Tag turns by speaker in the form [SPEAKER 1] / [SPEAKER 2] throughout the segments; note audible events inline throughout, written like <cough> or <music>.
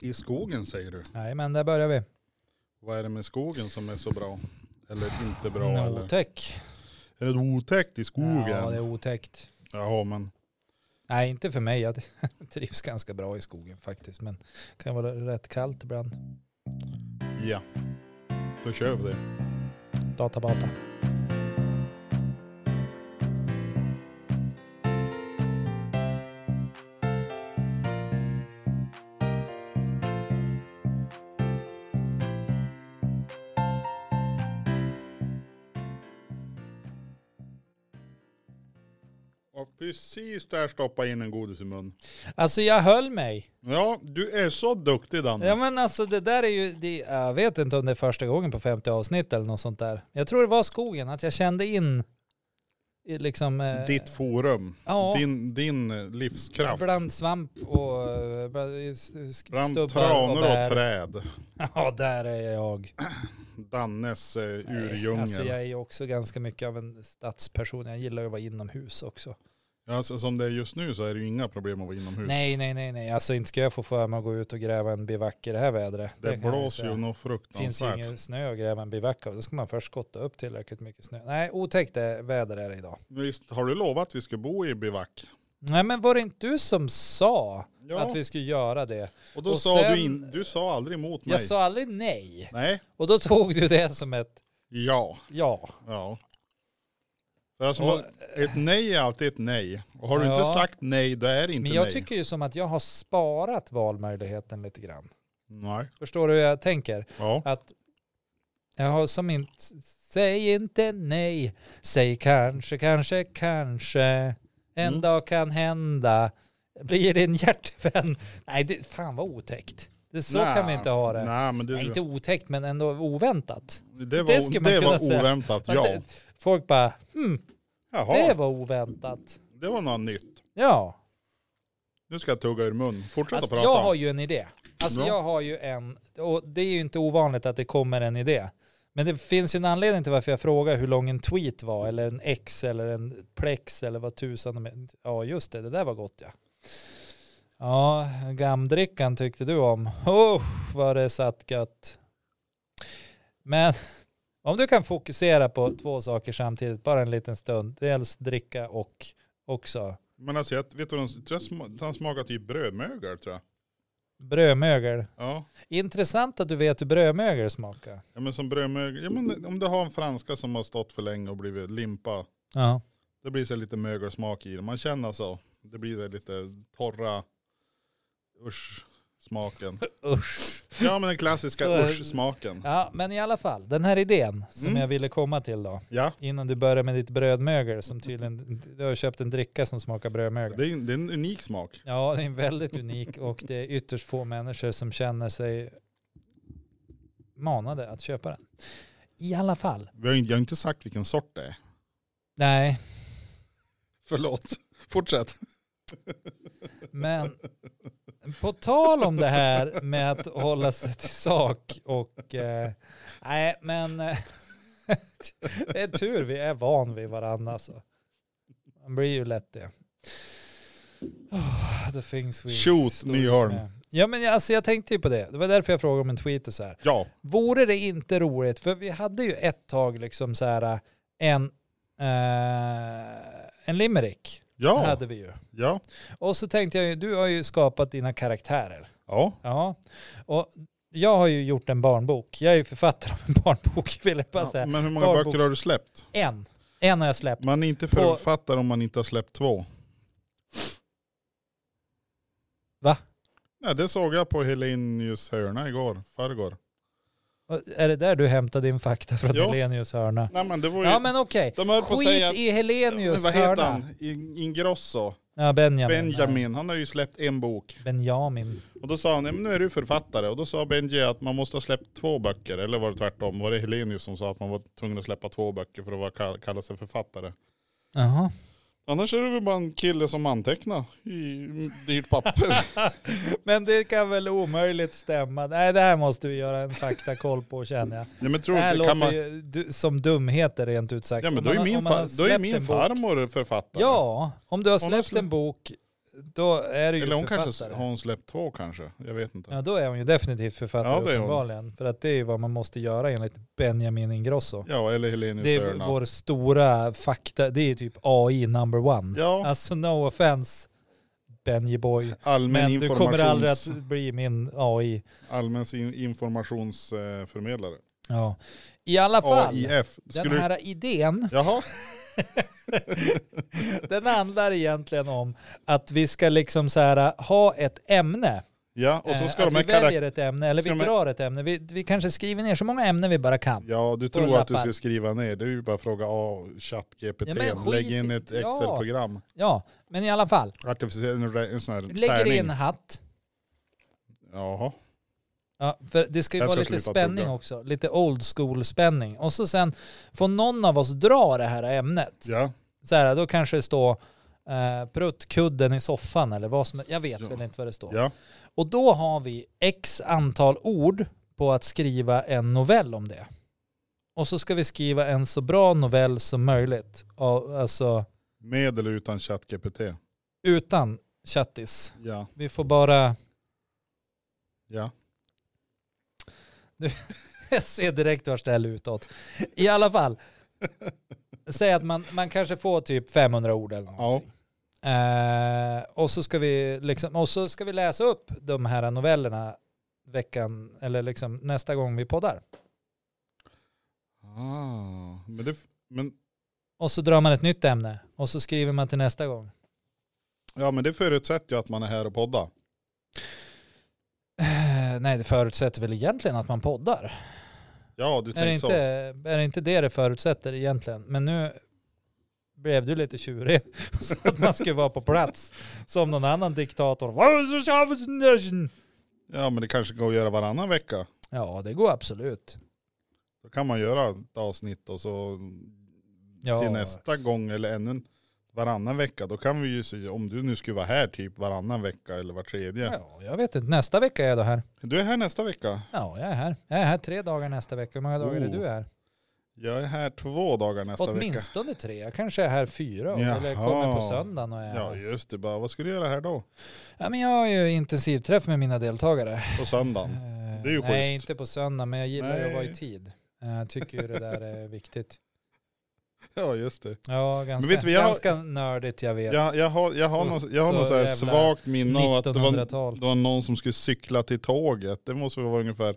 [SPEAKER 1] I skogen säger du.
[SPEAKER 2] Nej, men där börjar vi.
[SPEAKER 1] Vad är det med skogen som är så bra? Eller inte bra? Eller?
[SPEAKER 2] Otäck.
[SPEAKER 1] Är det otäckt i skogen?
[SPEAKER 2] Ja, det är otäckt.
[SPEAKER 1] Jaha, men
[SPEAKER 2] Nej, inte för mig. Jag <laughs> trivs ganska bra i skogen faktiskt. Men det kan vara rätt kallt ibland.
[SPEAKER 1] ja. Då kör vi det.
[SPEAKER 2] Databata.
[SPEAKER 1] Och precis där stoppa in en godis i mun.
[SPEAKER 2] Alltså jag höll mig.
[SPEAKER 1] Ja, du är så duktig Danne.
[SPEAKER 2] Ja men alltså det där är ju, det, jag vet inte om det är första gången på 50 avsnitt eller något sånt där. Jag tror det var skogen, att jag kände in i liksom... eh,
[SPEAKER 1] Ditt forum.
[SPEAKER 2] ja,
[SPEAKER 1] Din, din eh, livskraft.
[SPEAKER 2] Bland svamp och eh, bland- i s- s-
[SPEAKER 1] Bland
[SPEAKER 2] stubbar och
[SPEAKER 1] tranor och
[SPEAKER 2] bär.
[SPEAKER 1] träd.
[SPEAKER 2] <laughs> Ja, där är jag.
[SPEAKER 1] Dannes eh, urdjungel.
[SPEAKER 2] Nej, Alltså jag är ju också ganska mycket av en stadsperson. Jag gillar ju att vara inomhus också.
[SPEAKER 1] Alltså, som det är just nu så är det ju inga problem att vara inomhus.
[SPEAKER 2] Nej, nej, nej, nej. Alltså inte ska jag få för mig att gå ut och gräva en bivack i det här vädret.
[SPEAKER 1] det
[SPEAKER 2] kan jag
[SPEAKER 1] blåser
[SPEAKER 2] säga.
[SPEAKER 1] ju något
[SPEAKER 2] Det finns ju
[SPEAKER 1] fruktansvärt.
[SPEAKER 2] ingen snö att gräva en bivack av. Då ska man först skotta upp tillräckligt mycket snö. Nej, otäckt är väder är det idag.
[SPEAKER 1] Visst har du lovat att vi ska bo i bivack?
[SPEAKER 2] Nej, men var det inte du som sa
[SPEAKER 1] Ja,
[SPEAKER 2] att vi skulle göra det?
[SPEAKER 1] och då
[SPEAKER 2] och
[SPEAKER 1] sa
[SPEAKER 2] sen-
[SPEAKER 1] du in, du sa aldrig emot mig.
[SPEAKER 2] Jag sa aldrig nej.
[SPEAKER 1] Nej,
[SPEAKER 2] Och då tog du det som ett
[SPEAKER 1] ja,
[SPEAKER 2] ja.
[SPEAKER 1] ja. För alltså,
[SPEAKER 2] Och-
[SPEAKER 1] ett nej är alltid ett nej. Och har du inte
[SPEAKER 2] Ja.
[SPEAKER 1] sagt nej, då är det inte
[SPEAKER 2] Men jag
[SPEAKER 1] nej.
[SPEAKER 2] tycker ju som att jag har sparat valmöjligheten lite grann.
[SPEAKER 1] Nej.
[SPEAKER 2] Förstår du hur jag tänker?
[SPEAKER 1] Ja.
[SPEAKER 2] Att jag har som inte, säg inte nej, säg kanske, kanske, kanske. En
[SPEAKER 1] Mm.
[SPEAKER 2] dag kan hända. Blir din hjärtevän. Nej, det, fan vad otäckt. Det, så
[SPEAKER 1] Nej.
[SPEAKER 2] kan vi inte ha det.
[SPEAKER 1] Nej, men det,
[SPEAKER 2] Nej, inte otäckt men ändå oväntat.
[SPEAKER 1] det var,
[SPEAKER 2] det skulle man
[SPEAKER 1] det
[SPEAKER 2] kunna
[SPEAKER 1] var
[SPEAKER 2] säga.
[SPEAKER 1] oväntat,
[SPEAKER 2] Att
[SPEAKER 1] ja.
[SPEAKER 2] det- Folk bara, hmm,
[SPEAKER 1] Jaha,
[SPEAKER 2] det
[SPEAKER 1] det var,
[SPEAKER 2] var oväntat.
[SPEAKER 1] något nytt.
[SPEAKER 2] Ja.
[SPEAKER 1] Nu ska jag tugga ur mun. Fortsätt
[SPEAKER 2] Alltså,
[SPEAKER 1] att prata.
[SPEAKER 2] jag har ju en idé. Alltså
[SPEAKER 1] Bra.
[SPEAKER 2] jag har ju en, och det är ju inte ovanligt att det kommer en idé. Men det finns ju en anledning till varför jag frågar hur lång en tweet var, eller en X, eller en plex, eller vad tusan de är. Ja, just det, det där var gott ja. Ja, gamdrickan tyckte du om. Oh, vad det satt gött. Men om du kan fokusera på två saker samtidigt, bara en liten stund. Dels dricka och också
[SPEAKER 1] Men alltså, jag, vet du, den, tror jag sma- den smakar typ brödmögel tror jag.
[SPEAKER 2] brödmögel.
[SPEAKER 1] Ja.
[SPEAKER 2] Intressant att du vet hur brödmögel smakar.
[SPEAKER 1] ja, men som brödmögel. Ja, men om du har en franska som har stått för länge och blivit limpa.
[SPEAKER 2] Ja.
[SPEAKER 1] Det blir så lite mögelsmak i det. Man känner så. Det blir det lite torra usch smaken.
[SPEAKER 2] <laughs> Usch.
[SPEAKER 1] Ja men den klassiska
[SPEAKER 2] Så är det.
[SPEAKER 1] usch smaken.
[SPEAKER 2] Ja, men i alla fall, den här idén som
[SPEAKER 1] Mm.
[SPEAKER 2] jag ville komma till då,
[SPEAKER 1] Ja,
[SPEAKER 2] innan du börjar med ditt brödmögel som tydligen, du har köpt en dricka som smakar brödmögel.
[SPEAKER 1] det är, en- det är en unik smak.
[SPEAKER 2] Ja, den är väldigt unik och det är ytterst få människor som känner sig manade att köpa den. I alla fall.
[SPEAKER 1] Vi har inte, jag har inte sagt vilken sort det är. <laughs>
[SPEAKER 2] Nej,
[SPEAKER 1] Förlåt. Fortsätt.
[SPEAKER 2] men på tal om det här med att hålla sig till sak och... Eh, nej, men... Eh, <laughs> det är tur vi är van vid varandra. Alltså. Man blir ju lätt det. Oh, the things we...
[SPEAKER 1] Shoot
[SPEAKER 2] står ut
[SPEAKER 1] Nyholm.
[SPEAKER 2] med. Ja men jag- alltså, jag tänkte ju på det. Det var därför jag frågade om en tweet och så här.
[SPEAKER 1] Ja.
[SPEAKER 2] Vore det inte roligt, för vi hade ju ett tag liksom så här en, eh, en limerick.
[SPEAKER 1] Ja.
[SPEAKER 2] Hade vi ju.
[SPEAKER 1] Ja.
[SPEAKER 2] Och så tänkte jag ju, du har ju skapat dina karaktärer.
[SPEAKER 1] Ja.
[SPEAKER 2] Ja. Och jag har ju gjort en barnbok. Jag är ju författare av en <laughs> barnbok, vill jag bara
[SPEAKER 1] ja.
[SPEAKER 2] säga.
[SPEAKER 1] Men hur många
[SPEAKER 2] Barbox.
[SPEAKER 1] böcker har du släppt?
[SPEAKER 2] En. En har jag släppt.
[SPEAKER 1] Man är inte författare om man inte har släppt två.
[SPEAKER 2] Va?
[SPEAKER 1] Nej, det såg jag på Helenius hörna igår, förrgår.
[SPEAKER 2] Och Är det där du hämtade din fakta från
[SPEAKER 1] Ja.
[SPEAKER 2] Helenius hörna?
[SPEAKER 1] Nej men det var ju...
[SPEAKER 2] Ja men okej.
[SPEAKER 1] de höll på att
[SPEAKER 2] Skit
[SPEAKER 1] säga...
[SPEAKER 2] i
[SPEAKER 1] Men
[SPEAKER 2] Helenius
[SPEAKER 1] vad heter
[SPEAKER 2] hörna.
[SPEAKER 1] han? In- Ingrosso.
[SPEAKER 2] Ja, Benjamin.
[SPEAKER 1] Benjamin. Han har ju släppt en bok.
[SPEAKER 2] Ja. Benjamin.
[SPEAKER 1] Och då sa han, "Ja, men nu är du författare. Och då sa Benji att man måste ha släppt två böcker. Eller var det tvärtom? Var det Helenius som sa att man var tvungen att släppa två böcker för att vara kall- kalla sig författare?
[SPEAKER 2] Jaha.
[SPEAKER 1] Annars är det väl bara en kille som antecknar i dyrt
[SPEAKER 2] <laughs>
[SPEAKER 1] papper.
[SPEAKER 2] Men det kan väl omöjligt stämma. Nej, det här måste vi göra en faktakoll på känner jag.
[SPEAKER 1] Nej men tror
[SPEAKER 2] Det
[SPEAKER 1] du
[SPEAKER 2] här
[SPEAKER 1] inte,
[SPEAKER 2] låter
[SPEAKER 1] kan man...
[SPEAKER 2] ju du- som dumheter rent ut sagt.
[SPEAKER 1] Ja men
[SPEAKER 2] Om
[SPEAKER 1] då är
[SPEAKER 2] man har-
[SPEAKER 1] min,
[SPEAKER 2] om man har
[SPEAKER 1] far, då är
[SPEAKER 2] släppt
[SPEAKER 1] min
[SPEAKER 2] en bok-
[SPEAKER 1] farmor författare.
[SPEAKER 2] Ja, om du har
[SPEAKER 1] Om man
[SPEAKER 2] släppt
[SPEAKER 1] slä-
[SPEAKER 2] en bok då är det ju
[SPEAKER 1] Eller hon
[SPEAKER 2] författare.
[SPEAKER 1] kanske har hon släppt två kanske. Jag vet inte.
[SPEAKER 2] Ja då är hon ju definitivt författare
[SPEAKER 1] Ja, det är hon.
[SPEAKER 2] uppenbarligen. För att det är ju vad man måste göra enligt Benjamin Ingrosso.
[SPEAKER 1] Ja, eller Helenius
[SPEAKER 2] Det är
[SPEAKER 1] Örnad.
[SPEAKER 2] vår stora fakta, det är typ AI number one.
[SPEAKER 1] Ja,
[SPEAKER 2] Alltså no offense Benji boy.
[SPEAKER 1] allmän
[SPEAKER 2] Men du kommer aldrig att
[SPEAKER 1] informations,
[SPEAKER 2] bli min AI.
[SPEAKER 1] allmän in- informationsförmedlare.
[SPEAKER 2] Ja. I alla fall,
[SPEAKER 1] AIF.
[SPEAKER 2] den
[SPEAKER 1] Skulle du...
[SPEAKER 2] här idén <laughs>
[SPEAKER 1] Jaha,
[SPEAKER 2] Den handlar egentligen om att vi ska liksom så här, ha ett ämne.
[SPEAKER 1] ja och så ska
[SPEAKER 2] Eh,
[SPEAKER 1] de här
[SPEAKER 2] att vi väljer
[SPEAKER 1] karaktärerna.
[SPEAKER 2] ett ämne, eller vi
[SPEAKER 1] ska de här-
[SPEAKER 2] drar ett ämne. Vi, vi kanske skriver ner så många ämnen vi bara kan.
[SPEAKER 1] Ja, du
[SPEAKER 2] på
[SPEAKER 1] tror att du
[SPEAKER 2] lappar.
[SPEAKER 1] ska skriva ner. Det är ju bara att fråga A, ChatGPT.
[SPEAKER 2] Ja, men skit
[SPEAKER 1] Lägg in
[SPEAKER 2] i-
[SPEAKER 1] ett
[SPEAKER 2] ja.
[SPEAKER 1] Excel-program.
[SPEAKER 2] Ja, men i alla fall.
[SPEAKER 1] Artificiell, en, re- en sån här
[SPEAKER 2] Lägger
[SPEAKER 1] tärning.
[SPEAKER 2] i en hatt.
[SPEAKER 1] Jaha.
[SPEAKER 2] Ja, för det ska ju
[SPEAKER 1] Jag
[SPEAKER 2] vara
[SPEAKER 1] ska
[SPEAKER 2] lite
[SPEAKER 1] sluta
[SPEAKER 2] spänning
[SPEAKER 1] tugga.
[SPEAKER 2] också. Lite old school spänning. Och så sen får någon av oss dra det här ämnet.
[SPEAKER 1] Ja.
[SPEAKER 2] Så här, då kanske det står eh, pruttkudden i soffan eller vad som Jag vet
[SPEAKER 1] Ja.
[SPEAKER 2] väl inte vad det står.
[SPEAKER 1] ja.
[SPEAKER 2] Och då har vi x antal ord på att skriva en novell om det. Och så ska vi skriva en så bra novell som möjligt. Ja, Alltså
[SPEAKER 1] Med eller utan ChatGPT.
[SPEAKER 2] utan chattis.
[SPEAKER 1] Ja.
[SPEAKER 2] Vi får bara... <laughs>
[SPEAKER 1] Ja.
[SPEAKER 2] Jag ser direkt vart det här lutar åt. I alla fall. Säg att man, man kanske får typ 500 ord eller någonting. Eh, och, så ska vi liksom, och så ska vi läsa upp de här novellerna veckan, eller liksom nästa gång vi poddar.
[SPEAKER 1] Ah. Men det, men,
[SPEAKER 2] Och så drar man ett nytt ämne och så skriver man till nästa gång.
[SPEAKER 1] ja, men det förutsätter ju att man är här och poddar.
[SPEAKER 2] Eh, Nej, det förutsätter väl egentligen att man poddar.
[SPEAKER 1] Ja, du
[SPEAKER 2] Är det,
[SPEAKER 1] tänker
[SPEAKER 2] inte,
[SPEAKER 1] så.
[SPEAKER 2] är det inte det det förutsätter egentligen? Men nu blev du lite tjurig <laughs> och sa att man skulle vara på plats som någon annan diktator.
[SPEAKER 1] Ja, men det kanske går att göra varannan vecka.
[SPEAKER 2] Ja, det går absolut.
[SPEAKER 1] Då kan man göra ett avsnitt och så
[SPEAKER 2] Ja,
[SPEAKER 1] till nästa gång eller ännu en- varannan vecka. Då kan vi ju se, om du nu skulle vara här typ varannan vecka eller var tredje.
[SPEAKER 2] ja, jag vet inte. Nästa vecka är jag då här.
[SPEAKER 1] Du är här nästa vecka.
[SPEAKER 2] Ja, jag är här. Jag är här tre dagar nästa vecka. Hur många dagar är
[SPEAKER 1] Oh,
[SPEAKER 2] du här?
[SPEAKER 1] Jag är här två dagar nästa vecka.
[SPEAKER 2] Åtminstone tre. Jag kanske är här fyra.
[SPEAKER 1] Jaha.
[SPEAKER 2] Eller kommer på söndagen och är
[SPEAKER 1] Ja
[SPEAKER 2] här.
[SPEAKER 1] just det, bara, vad ska du göra här då?
[SPEAKER 2] Ja, men jag har ju intensivträff med mina deltagare.
[SPEAKER 1] På
[SPEAKER 2] <laughs>
[SPEAKER 1] söndagen.
[SPEAKER 2] Eh,
[SPEAKER 1] Det är ju
[SPEAKER 2] Nej,
[SPEAKER 1] schysst.
[SPEAKER 2] inte på söndag, men jag gillar ju att vara i
[SPEAKER 1] Nej.
[SPEAKER 2] tid. Eh, Jag tycker ju det där är <laughs> viktigt.
[SPEAKER 1] Ja just det.
[SPEAKER 2] Ja, ganska,
[SPEAKER 1] vet vi, jag har-
[SPEAKER 2] ganska nördigt jag vet.
[SPEAKER 1] Jag, jag har, jag har
[SPEAKER 2] Så-
[SPEAKER 1] något, jag har
[SPEAKER 2] så
[SPEAKER 1] något så här
[SPEAKER 2] jävla
[SPEAKER 1] svagt minne av att det var,
[SPEAKER 2] 1900-tal.
[SPEAKER 1] det var någon som skulle cykla till tåget. Det måste väl vara ungefär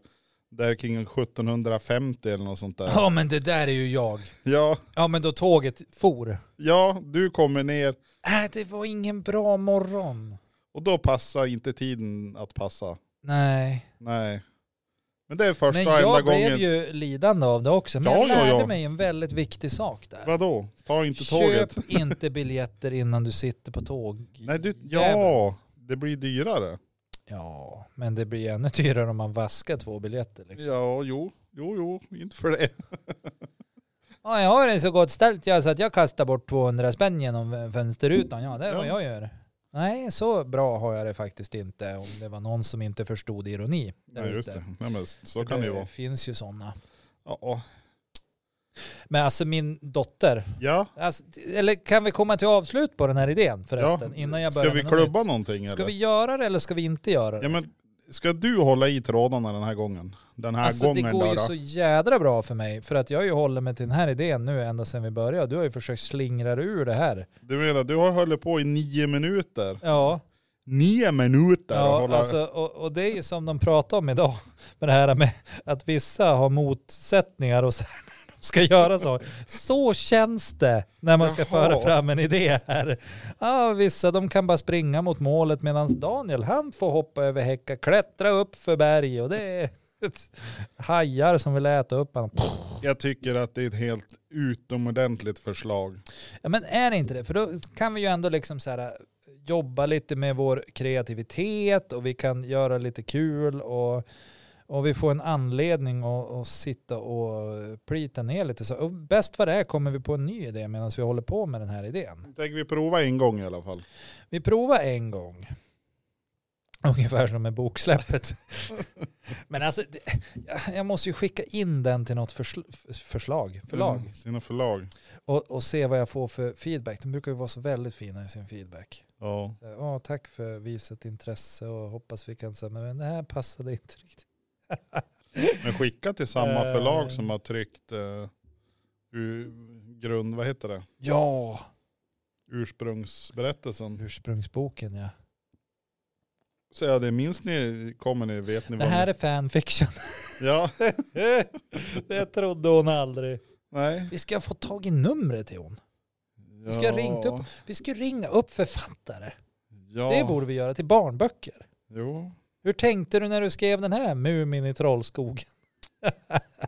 [SPEAKER 1] där kring 1750 eller något sånt där.
[SPEAKER 2] Ja, men det där är ju jag.
[SPEAKER 1] Ja,
[SPEAKER 2] Ja, men då tåget for.
[SPEAKER 1] ja, du kommer ner
[SPEAKER 2] Äh, det var ingen bra morgon.
[SPEAKER 1] och då passar inte tiden att passa.
[SPEAKER 2] Nej,
[SPEAKER 1] Nej. Men det är första
[SPEAKER 2] men
[SPEAKER 1] och enda
[SPEAKER 2] jag
[SPEAKER 1] gången.
[SPEAKER 2] blev ju lidande av det också. Men
[SPEAKER 1] Ja,
[SPEAKER 2] jag
[SPEAKER 1] ja,
[SPEAKER 2] lärde
[SPEAKER 1] ja.
[SPEAKER 2] mig en väldigt viktig sak där.
[SPEAKER 1] Vadå? Ta inte tåget.
[SPEAKER 2] Köp inte biljetter innan du sitter på tåg.
[SPEAKER 1] Nej, du,
[SPEAKER 2] Jävel.
[SPEAKER 1] ja, det blir dyrare.
[SPEAKER 2] Ja, men det blir ännu dyrare om man vaskar två biljetter. Liksom.
[SPEAKER 1] Ja, jo, jo, jo, inte för det.
[SPEAKER 2] Ja, jag har det så gott ställt jag så att jag kastar bort 200 spänn genom fönsterrutan. Ja, det är vad
[SPEAKER 1] Ja.
[SPEAKER 2] jag gör. Nej, så bra har jag det faktiskt inte om det var någon som inte förstod ironi. där
[SPEAKER 1] Nej, just
[SPEAKER 2] ute.
[SPEAKER 1] det. Nej, men så kan det ju vara.
[SPEAKER 2] finns ju sådana.
[SPEAKER 1] Ja,
[SPEAKER 2] Men alltså min dotter,
[SPEAKER 1] ja.
[SPEAKER 2] alltså, eller kan vi komma till avslut på den här idén förresten? innan jag
[SPEAKER 1] ska
[SPEAKER 2] börjar
[SPEAKER 1] vi
[SPEAKER 2] med något
[SPEAKER 1] klubba
[SPEAKER 2] nytt?
[SPEAKER 1] någonting
[SPEAKER 2] Ska
[SPEAKER 1] eller?
[SPEAKER 2] vi göra det eller ska vi inte göra det?
[SPEAKER 1] Ja, men, ska du hålla i trådarna den här gången? Den här
[SPEAKER 2] Alltså det
[SPEAKER 1] gången
[SPEAKER 2] går ju
[SPEAKER 1] då,
[SPEAKER 2] så jädra bra för mig för att jag ju håller mig till den här idén nu ända sedan vi började. Du har ju försökt slingra dig ur det här.
[SPEAKER 1] Du menar, du har hållit på i nio minuter.
[SPEAKER 2] Ja.
[SPEAKER 1] Nio minuter? och
[SPEAKER 2] Ja,
[SPEAKER 1] hålla...
[SPEAKER 2] alltså, och, och det är ju som de pratar om idag, <laughs> med det här med att vissa har motsättningar och så här, <laughs> när de ska göra så. Så känns det när man ska
[SPEAKER 1] Jaha.
[SPEAKER 2] föra fram en idé här. Ja, vissa de kan bara springa mot målet medan Daniel han får hoppa över häckar, klättra upp för berg och det är <laughs> hajar som vill äta upp honom.
[SPEAKER 1] Jag tycker att det är ett helt utomordentligt förslag.
[SPEAKER 2] Ja, men är det inte det? För då kan vi ju ändå liksom så här, jobba lite med vår kreativitet och vi kan göra lite kul och, och vi får en anledning att, att sitta och äh, plita ner lite. Så, och bäst vad det är kommer vi på en ny idé medan vi håller på med den här idén.
[SPEAKER 1] Tänker vi prova en gång i alla fall.
[SPEAKER 2] Vi provar en gång. <laughs> Ungefär som med boksläppet. <laughs> Men alltså, det, jag måste ju skicka in den till något försl- förslag, förlag
[SPEAKER 1] Mm, Sina förlag.
[SPEAKER 2] och, och se vad jag får för feedback. De brukar ju vara så väldigt fina i sin feedback.
[SPEAKER 1] Ja.
[SPEAKER 2] Så, här, "Ja, tack för visat intresse och hoppas vi kan säga, men det här passade inte riktigt. <laughs>
[SPEAKER 1] Men skicka till samma
[SPEAKER 2] Eh.
[SPEAKER 1] förlag som har tryckt eh, ur, grund, vad heter det?
[SPEAKER 2] Ja,
[SPEAKER 1] Ursprungsberättelsen.
[SPEAKER 2] ursprungsboken ja.
[SPEAKER 1] Så ja, det minns ni, kommer ni, vet ni
[SPEAKER 2] Det
[SPEAKER 1] vad
[SPEAKER 2] här
[SPEAKER 1] ni...
[SPEAKER 2] är fanfiction. <laughs>
[SPEAKER 1] Ja,
[SPEAKER 2] det trodde hon aldrig.
[SPEAKER 1] nej.
[SPEAKER 2] Vi ska få tag i numret till hon.
[SPEAKER 1] Ja.
[SPEAKER 2] ska jag ringt upp? Vi ska ringa upp författare.
[SPEAKER 1] Ja.
[SPEAKER 2] Det borde vi göra till barnböcker.
[SPEAKER 1] Jo.
[SPEAKER 2] Hur tänkte du när du skrev den här Mumin i Trollskog?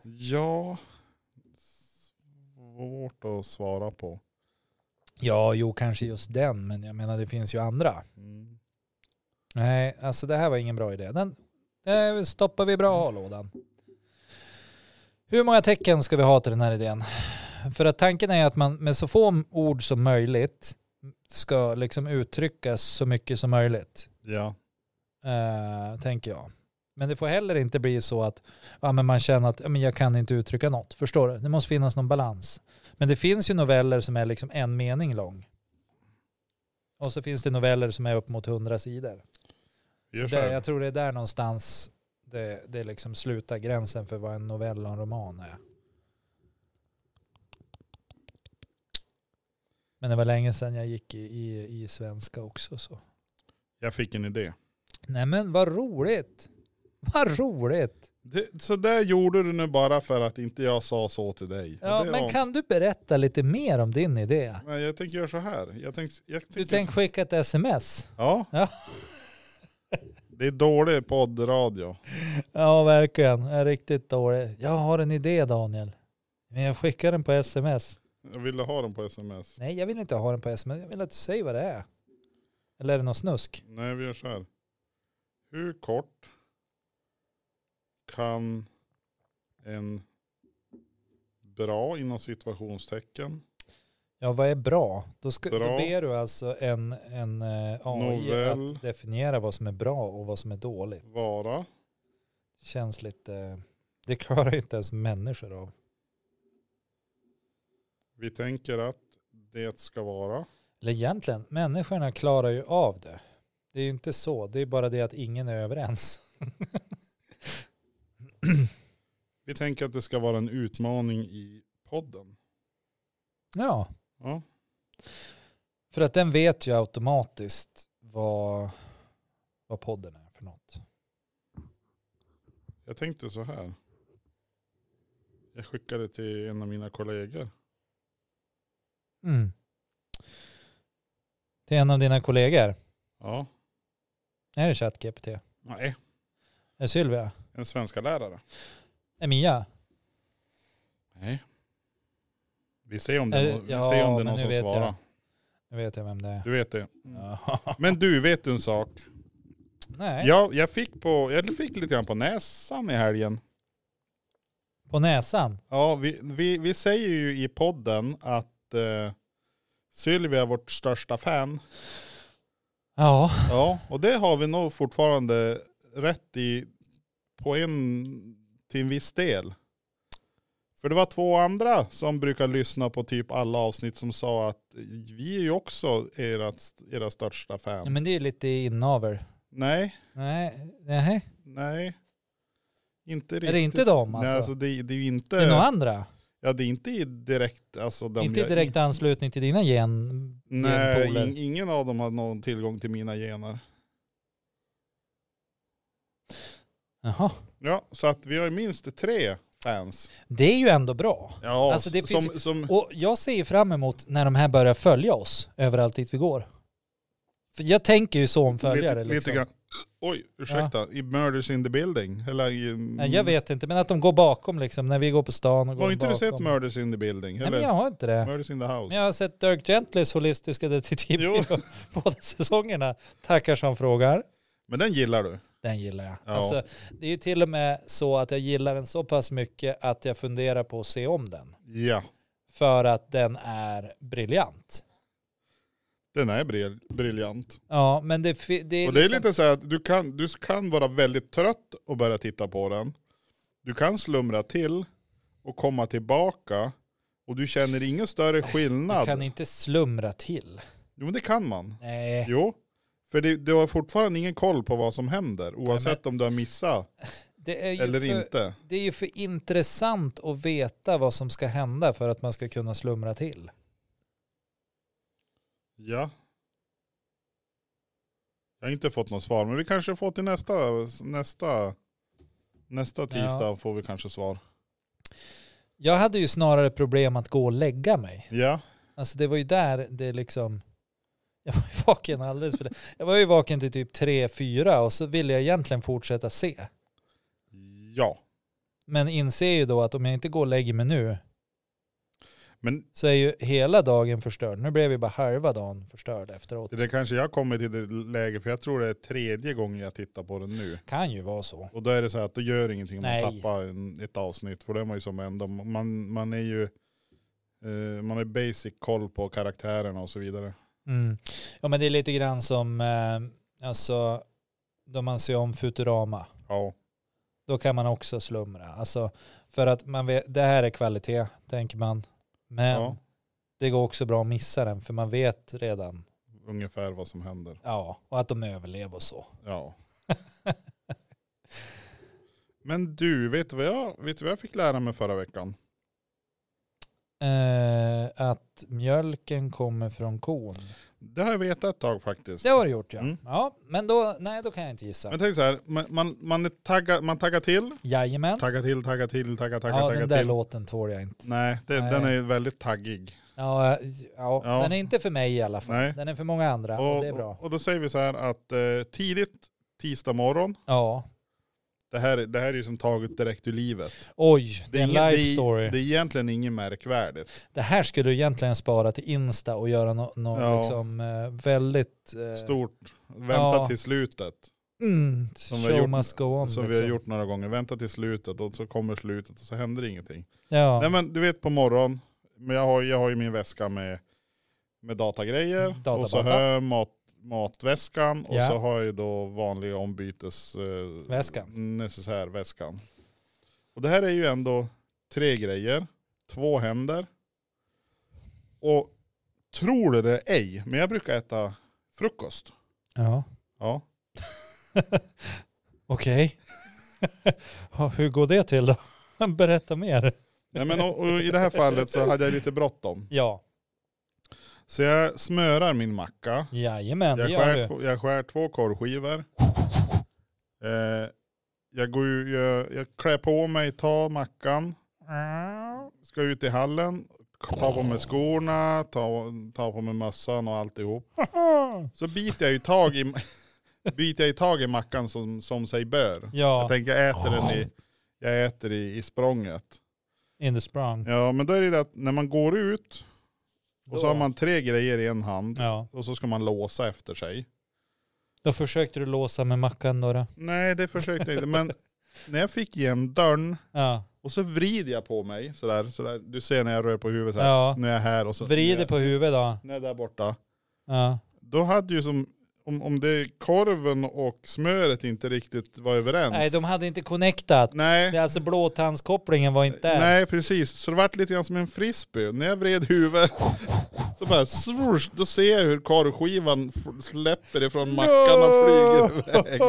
[SPEAKER 1] Ja. Svårt att svara på.
[SPEAKER 2] Ja, jo, kanske just den, men jag menar det finns ju andra.
[SPEAKER 1] Mm.
[SPEAKER 2] Nej, alltså det här var ingen bra idé. Den eh, stoppar vi i bra lådan. Hur många tecken ska vi ha till den här idén? För att tanken är att man med så få ord som möjligt ska liksom uttrycka så mycket som möjligt,
[SPEAKER 1] Ja.
[SPEAKER 2] eh, tänker jag. Men det får heller inte bli så att ja, men man känner att ja, men jag kan inte uttrycka något. Förstår du? Det måste finnas någon balans. Men det finns ju noveller som är liksom en mening lång. Och så finns det noveller som är upp mot hundra sidor.
[SPEAKER 1] Vi gör så
[SPEAKER 2] Det,
[SPEAKER 1] här.
[SPEAKER 2] jag tror det är där någonstans det, det liksom slutar gränsen för vad en novell och en roman är. Men det var länge sedan jag gick i, i, i svenska också. Så.
[SPEAKER 1] Jag fick en idé.
[SPEAKER 2] Nej men vad roligt. Vad roligt.
[SPEAKER 1] Det, så där gjorde du nu bara för att inte jag sa så till dig.
[SPEAKER 2] Ja,
[SPEAKER 1] Det
[SPEAKER 2] men
[SPEAKER 1] var-
[SPEAKER 2] kan du berätta lite mer om din idé?
[SPEAKER 1] Nej, jag tänker göra så här. Jag tänker, jag tänker,
[SPEAKER 2] Du tänker skicka ett sms?
[SPEAKER 1] Ja.
[SPEAKER 2] Ja.
[SPEAKER 1] <laughs> Det är dålig poddradio.
[SPEAKER 2] Ja, verkligen. Jag är riktigt dålig. Jag har en idé Daniel. Men jag skickar den på sms.
[SPEAKER 1] Jag ville ha den på sms.
[SPEAKER 2] Nej, jag vill inte ha den på sms. Jag vill att du säger vad det är. Eller är det någon snusk?
[SPEAKER 1] Nej, vi gör så här. Hur kort kan en bra inom situationstecken
[SPEAKER 2] Ja, vad är bra? Då, ska, då
[SPEAKER 1] Bra.
[SPEAKER 2] ber du alltså en, en eh, AI
[SPEAKER 1] Novell.
[SPEAKER 2] att definiera vad som är bra och vad som är dåligt.
[SPEAKER 1] vara?
[SPEAKER 2] Känns lite... Det klarar ju inte ens människor av.
[SPEAKER 1] Vi tänker att det ska vara.
[SPEAKER 2] Eller egentligen, människorna klarar ju av det. Det är ju inte så. Det är bara det att ingen är överens.
[SPEAKER 1] Vi tänker att det ska vara en utmaning i podden.
[SPEAKER 2] Ja,
[SPEAKER 1] Ja,
[SPEAKER 2] för att den vet ju automatiskt vad, vad podden är för något.
[SPEAKER 1] jag tänkte så här. Jag skickade till en av mina kollegor.
[SPEAKER 2] Mm. Till en av dina kollegor.
[SPEAKER 1] Ja,
[SPEAKER 2] Är det ChatGPT? Är
[SPEAKER 1] nej,
[SPEAKER 2] det Sylvia?
[SPEAKER 1] en svenska lärare.
[SPEAKER 2] Är Mia?
[SPEAKER 1] Nej. Vi ser om det, är
[SPEAKER 2] Eh,
[SPEAKER 1] nå-
[SPEAKER 2] ja,
[SPEAKER 1] vi ser om det är
[SPEAKER 2] men
[SPEAKER 1] någon
[SPEAKER 2] nu
[SPEAKER 1] som
[SPEAKER 2] vet
[SPEAKER 1] svarar.
[SPEAKER 2] jag. Nu vet jag vem det är.
[SPEAKER 1] Du vet det. Mm.
[SPEAKER 2] Ja. <laughs>
[SPEAKER 1] Men du, vet du en sak?
[SPEAKER 2] Nej,
[SPEAKER 1] Jag, jag, fick på, jag fick lite grann på näsan i helgen.
[SPEAKER 2] på näsan.
[SPEAKER 1] Ja, vi, vi, vi säger ju i podden att eh, Sylvia är vårt största fan.
[SPEAKER 2] Ja.
[SPEAKER 1] Ja, och det har vi nog fortfarande rätt i på en, till en viss del. För det var två andra som brukar lyssna på typ alla avsnitt som sa att vi är ju också era, era största fan.
[SPEAKER 2] Men det är ju lite inavel.
[SPEAKER 1] Nej,
[SPEAKER 2] Nej, nej.
[SPEAKER 1] nej. Inte riktigt.
[SPEAKER 2] Är det inte dem alltså?
[SPEAKER 1] Nej, alltså det, det är ju inte,
[SPEAKER 2] det är några andra.
[SPEAKER 1] ja, det är inte i direkt, alltså de
[SPEAKER 2] inte i
[SPEAKER 1] jag-
[SPEAKER 2] direkt anslutning till dina gen.
[SPEAKER 1] Nej,
[SPEAKER 2] genpooler.
[SPEAKER 1] in, ingen av dem har någon tillgång till mina gener.
[SPEAKER 2] Jaha.
[SPEAKER 1] Ja, så att vi har ju minst tre fans.
[SPEAKER 2] Det är ju ändå bra.
[SPEAKER 1] Ja,
[SPEAKER 2] Alltså, det
[SPEAKER 1] som,
[SPEAKER 2] finns ju-
[SPEAKER 1] som,
[SPEAKER 2] Och jag ser ju fram emot när de här börjar följa oss överallt dit vi går. För jag tänker ju så om följare.
[SPEAKER 1] lite,
[SPEAKER 2] liksom.
[SPEAKER 1] lite grann. Oj, ursäkta. I Murders in the building. Eller i,
[SPEAKER 2] Nej, jag vet inte, men att de går bakom liksom när vi går på stan och går
[SPEAKER 1] Har inte du
[SPEAKER 2] bakom.
[SPEAKER 1] sett Murders in the building?
[SPEAKER 2] Nej,
[SPEAKER 1] Eller
[SPEAKER 2] men jag har inte det.
[SPEAKER 1] Murders in the house?
[SPEAKER 2] Men jag har sett Dirk Gentlys holistiska
[SPEAKER 1] Jo.
[SPEAKER 2] detektivbyrå <laughs> båda säsongerna. Tackar som frågar.
[SPEAKER 1] Men den gillar du?
[SPEAKER 2] Den gillar jag.
[SPEAKER 1] Ja.
[SPEAKER 2] Alltså, det är ju till och med så att jag gillar den så pass mycket att jag funderar på att se om den.
[SPEAKER 1] Ja.
[SPEAKER 2] För att den är briljant.
[SPEAKER 1] Den är bril- briljant.
[SPEAKER 2] Ja, men det, fi- det är,
[SPEAKER 1] Och det är
[SPEAKER 2] liksom-
[SPEAKER 1] lite så här att du kan, du kan vara väldigt trött och börja titta på den. Du kan slumra till och komma tillbaka. Och du känner ingen större
[SPEAKER 2] Du
[SPEAKER 1] skillnad.
[SPEAKER 2] kan inte slumra till.
[SPEAKER 1] Jo men det kan man.
[SPEAKER 2] Nej.
[SPEAKER 1] Jo. För det, du har fortfarande ingen koll på vad som händer. Oavsett om du har missat
[SPEAKER 2] Det är ju
[SPEAKER 1] eller
[SPEAKER 2] för,
[SPEAKER 1] inte.
[SPEAKER 2] Det är ju för intressant att veta vad som ska hända för att man ska kunna slumra till.
[SPEAKER 1] Ja. Jag har inte fått något svar, men vi kanske får till nästa, nästa, nästa tisdag får vi kanske svar.
[SPEAKER 2] Jag hade ju snarare problem att gå och lägga mig.
[SPEAKER 1] Ja,
[SPEAKER 2] Alltså det var ju där det liksom... <laughs> Jag var ju vaken alldeles för det. Jag var ju vaken till typ 3-4 och så ville jag egentligen fortsätta se.
[SPEAKER 1] ja.
[SPEAKER 2] Men inser ju då att om jag inte går och lägger mig nu
[SPEAKER 1] Men
[SPEAKER 2] så är ju hela dagen förstörd. Nu blev ju bara halva dagen förstörd efteråt.
[SPEAKER 1] det där kanske jag kommer till det läge, för jag tror det är tredje gången jag tittar på den nu.
[SPEAKER 2] kan ju vara så.
[SPEAKER 1] Och då är det så här att det gör ingenting om
[SPEAKER 2] Nej.
[SPEAKER 1] man tappar en, ett avsnitt, för då är man ju som ändå, man, man är ju, eh, man har ju basic koll på karaktärerna och så vidare.
[SPEAKER 2] Mm. Ja men det är lite grann som, eh, alltså, då man ser om Futurama,
[SPEAKER 1] Ja,
[SPEAKER 2] då kan man också slumra. Alltså, för att man vet, det här är kvalitet, tänker man. Men
[SPEAKER 1] Ja.
[SPEAKER 2] det går också bra att missa den, för man vet redan,
[SPEAKER 1] ungefär vad som händer.
[SPEAKER 2] ja, och att de överlever och så.
[SPEAKER 1] Ja. <laughs> Men du, vet du vad jag, vet du vad jag fick lära mig förra veckan?
[SPEAKER 2] Eh, att mjölken kommer från kon.
[SPEAKER 1] Det har jag vetat ett tag faktiskt.
[SPEAKER 2] Det har du gjort ja.
[SPEAKER 1] Mm.
[SPEAKER 2] Ja, men då, nej då kan jag inte gissa.
[SPEAKER 1] Men tänk så här, man, man, man, är tagga, man taggar till,
[SPEAKER 2] Jajamän.
[SPEAKER 1] taggar till, taggar till, taggar, taggar,
[SPEAKER 2] ja,
[SPEAKER 1] taggar
[SPEAKER 2] den där
[SPEAKER 1] till.
[SPEAKER 2] låten tål jag inte.
[SPEAKER 1] Nej, det,
[SPEAKER 2] Nej.
[SPEAKER 1] den är väldigt taggig.
[SPEAKER 2] Ja, eh, ja,
[SPEAKER 1] Ja.
[SPEAKER 2] den är inte för mig i alla fall.
[SPEAKER 1] Nej.
[SPEAKER 2] Den är för många andra och, det är bra.
[SPEAKER 1] och, och då säger vi så här att eh, tidigt tisdag morgon,
[SPEAKER 2] Ja,
[SPEAKER 1] det här, det här är ju som taget direkt ur livet.
[SPEAKER 2] oj, det är en
[SPEAKER 1] ingen-
[SPEAKER 2] life
[SPEAKER 1] det
[SPEAKER 2] story.
[SPEAKER 1] Det är egentligen inget märkvärdigt.
[SPEAKER 2] Det här skulle du egentligen spara till Insta och göra något no,
[SPEAKER 1] Ja.
[SPEAKER 2] liksom, eh, väldigt... Eh,
[SPEAKER 1] Stort, vänta
[SPEAKER 2] Ja.
[SPEAKER 1] till slutet.
[SPEAKER 2] mm,
[SPEAKER 1] Som vi
[SPEAKER 2] show
[SPEAKER 1] har gjort-
[SPEAKER 2] must go on.
[SPEAKER 1] Som vi
[SPEAKER 2] liksom.
[SPEAKER 1] har gjort några gånger, vänta till slutet och så kommer slutet och så händer ingenting.
[SPEAKER 2] Ja.
[SPEAKER 1] Nej men du vet på morgon, men jag har, jag har ju min väska med, med datagrejer
[SPEAKER 2] Databata.
[SPEAKER 1] och så har jag mat, matväskan och
[SPEAKER 2] Ja.
[SPEAKER 1] så har jag ju då vanliga ombytes... Eh,
[SPEAKER 2] Väskan.
[SPEAKER 1] Necessärväskan. Och det här är ju ändå tre grejer, två händer och tror det eller ej, men jag brukar äta frukost.
[SPEAKER 2] ja.
[SPEAKER 1] Ja.
[SPEAKER 2] <laughs> Okej. Ja, Hur går det till då? <laughs> Berätta mer.
[SPEAKER 1] Nej, men, och, och I det här fallet så hade jag lite bråttom.
[SPEAKER 2] Ja,
[SPEAKER 1] Så jag smörar min macka.
[SPEAKER 2] jajamän det
[SPEAKER 1] Jag
[SPEAKER 2] gör
[SPEAKER 1] skär,
[SPEAKER 2] du.
[SPEAKER 1] två, jag skär två korvskivor. Eh, jag, går, ju- jag, jag klär på mig, tar mackan, ska ut i hallen, tar på mig skorna, tar, tar på mig mössan och alltihop. Så biter jag ju tag i, <laughs> biter jag ju tag i mackan som, som sig bör. Jag
[SPEAKER 2] <laughs> Ja,
[SPEAKER 1] tänker jag äter den i, jag äter i, i språnget.
[SPEAKER 2] in the sprung.
[SPEAKER 1] Ja men då är det det att när man går ut och så
[SPEAKER 2] Då-
[SPEAKER 1] har man tre grejer i en hand
[SPEAKER 2] Ja.
[SPEAKER 1] och så ska man låsa efter sig.
[SPEAKER 2] Då försökte du låsa med mackan då? då.
[SPEAKER 1] Nej, det försökte jag inte.
[SPEAKER 2] <laughs>
[SPEAKER 1] Men när jag fick igen dörren
[SPEAKER 2] Ja.
[SPEAKER 1] och så vrider jag på mig sådär. sådär. Du ser när jag rör på huvudet här.
[SPEAKER 2] ja.
[SPEAKER 1] När jag är här och så. när
[SPEAKER 2] Vrider
[SPEAKER 1] jag,
[SPEAKER 2] på huvudet då.
[SPEAKER 1] När jag är där borta.
[SPEAKER 2] Ja.
[SPEAKER 1] Då hade ju som, om, om det korven och smöret inte riktigt var överens.
[SPEAKER 2] Nej, de hade inte connectat.
[SPEAKER 1] Nej.
[SPEAKER 2] Det är alltså blåtandskopplingen var inte där. <laughs>
[SPEAKER 1] Nej, precis. Så det vart lite grann som en frisbee. När jag vred
[SPEAKER 2] <laughs>
[SPEAKER 1] huvudet så bara swoosh, då ser jag hur korvskivan f- släpper ifrån mackan och flyger iväg.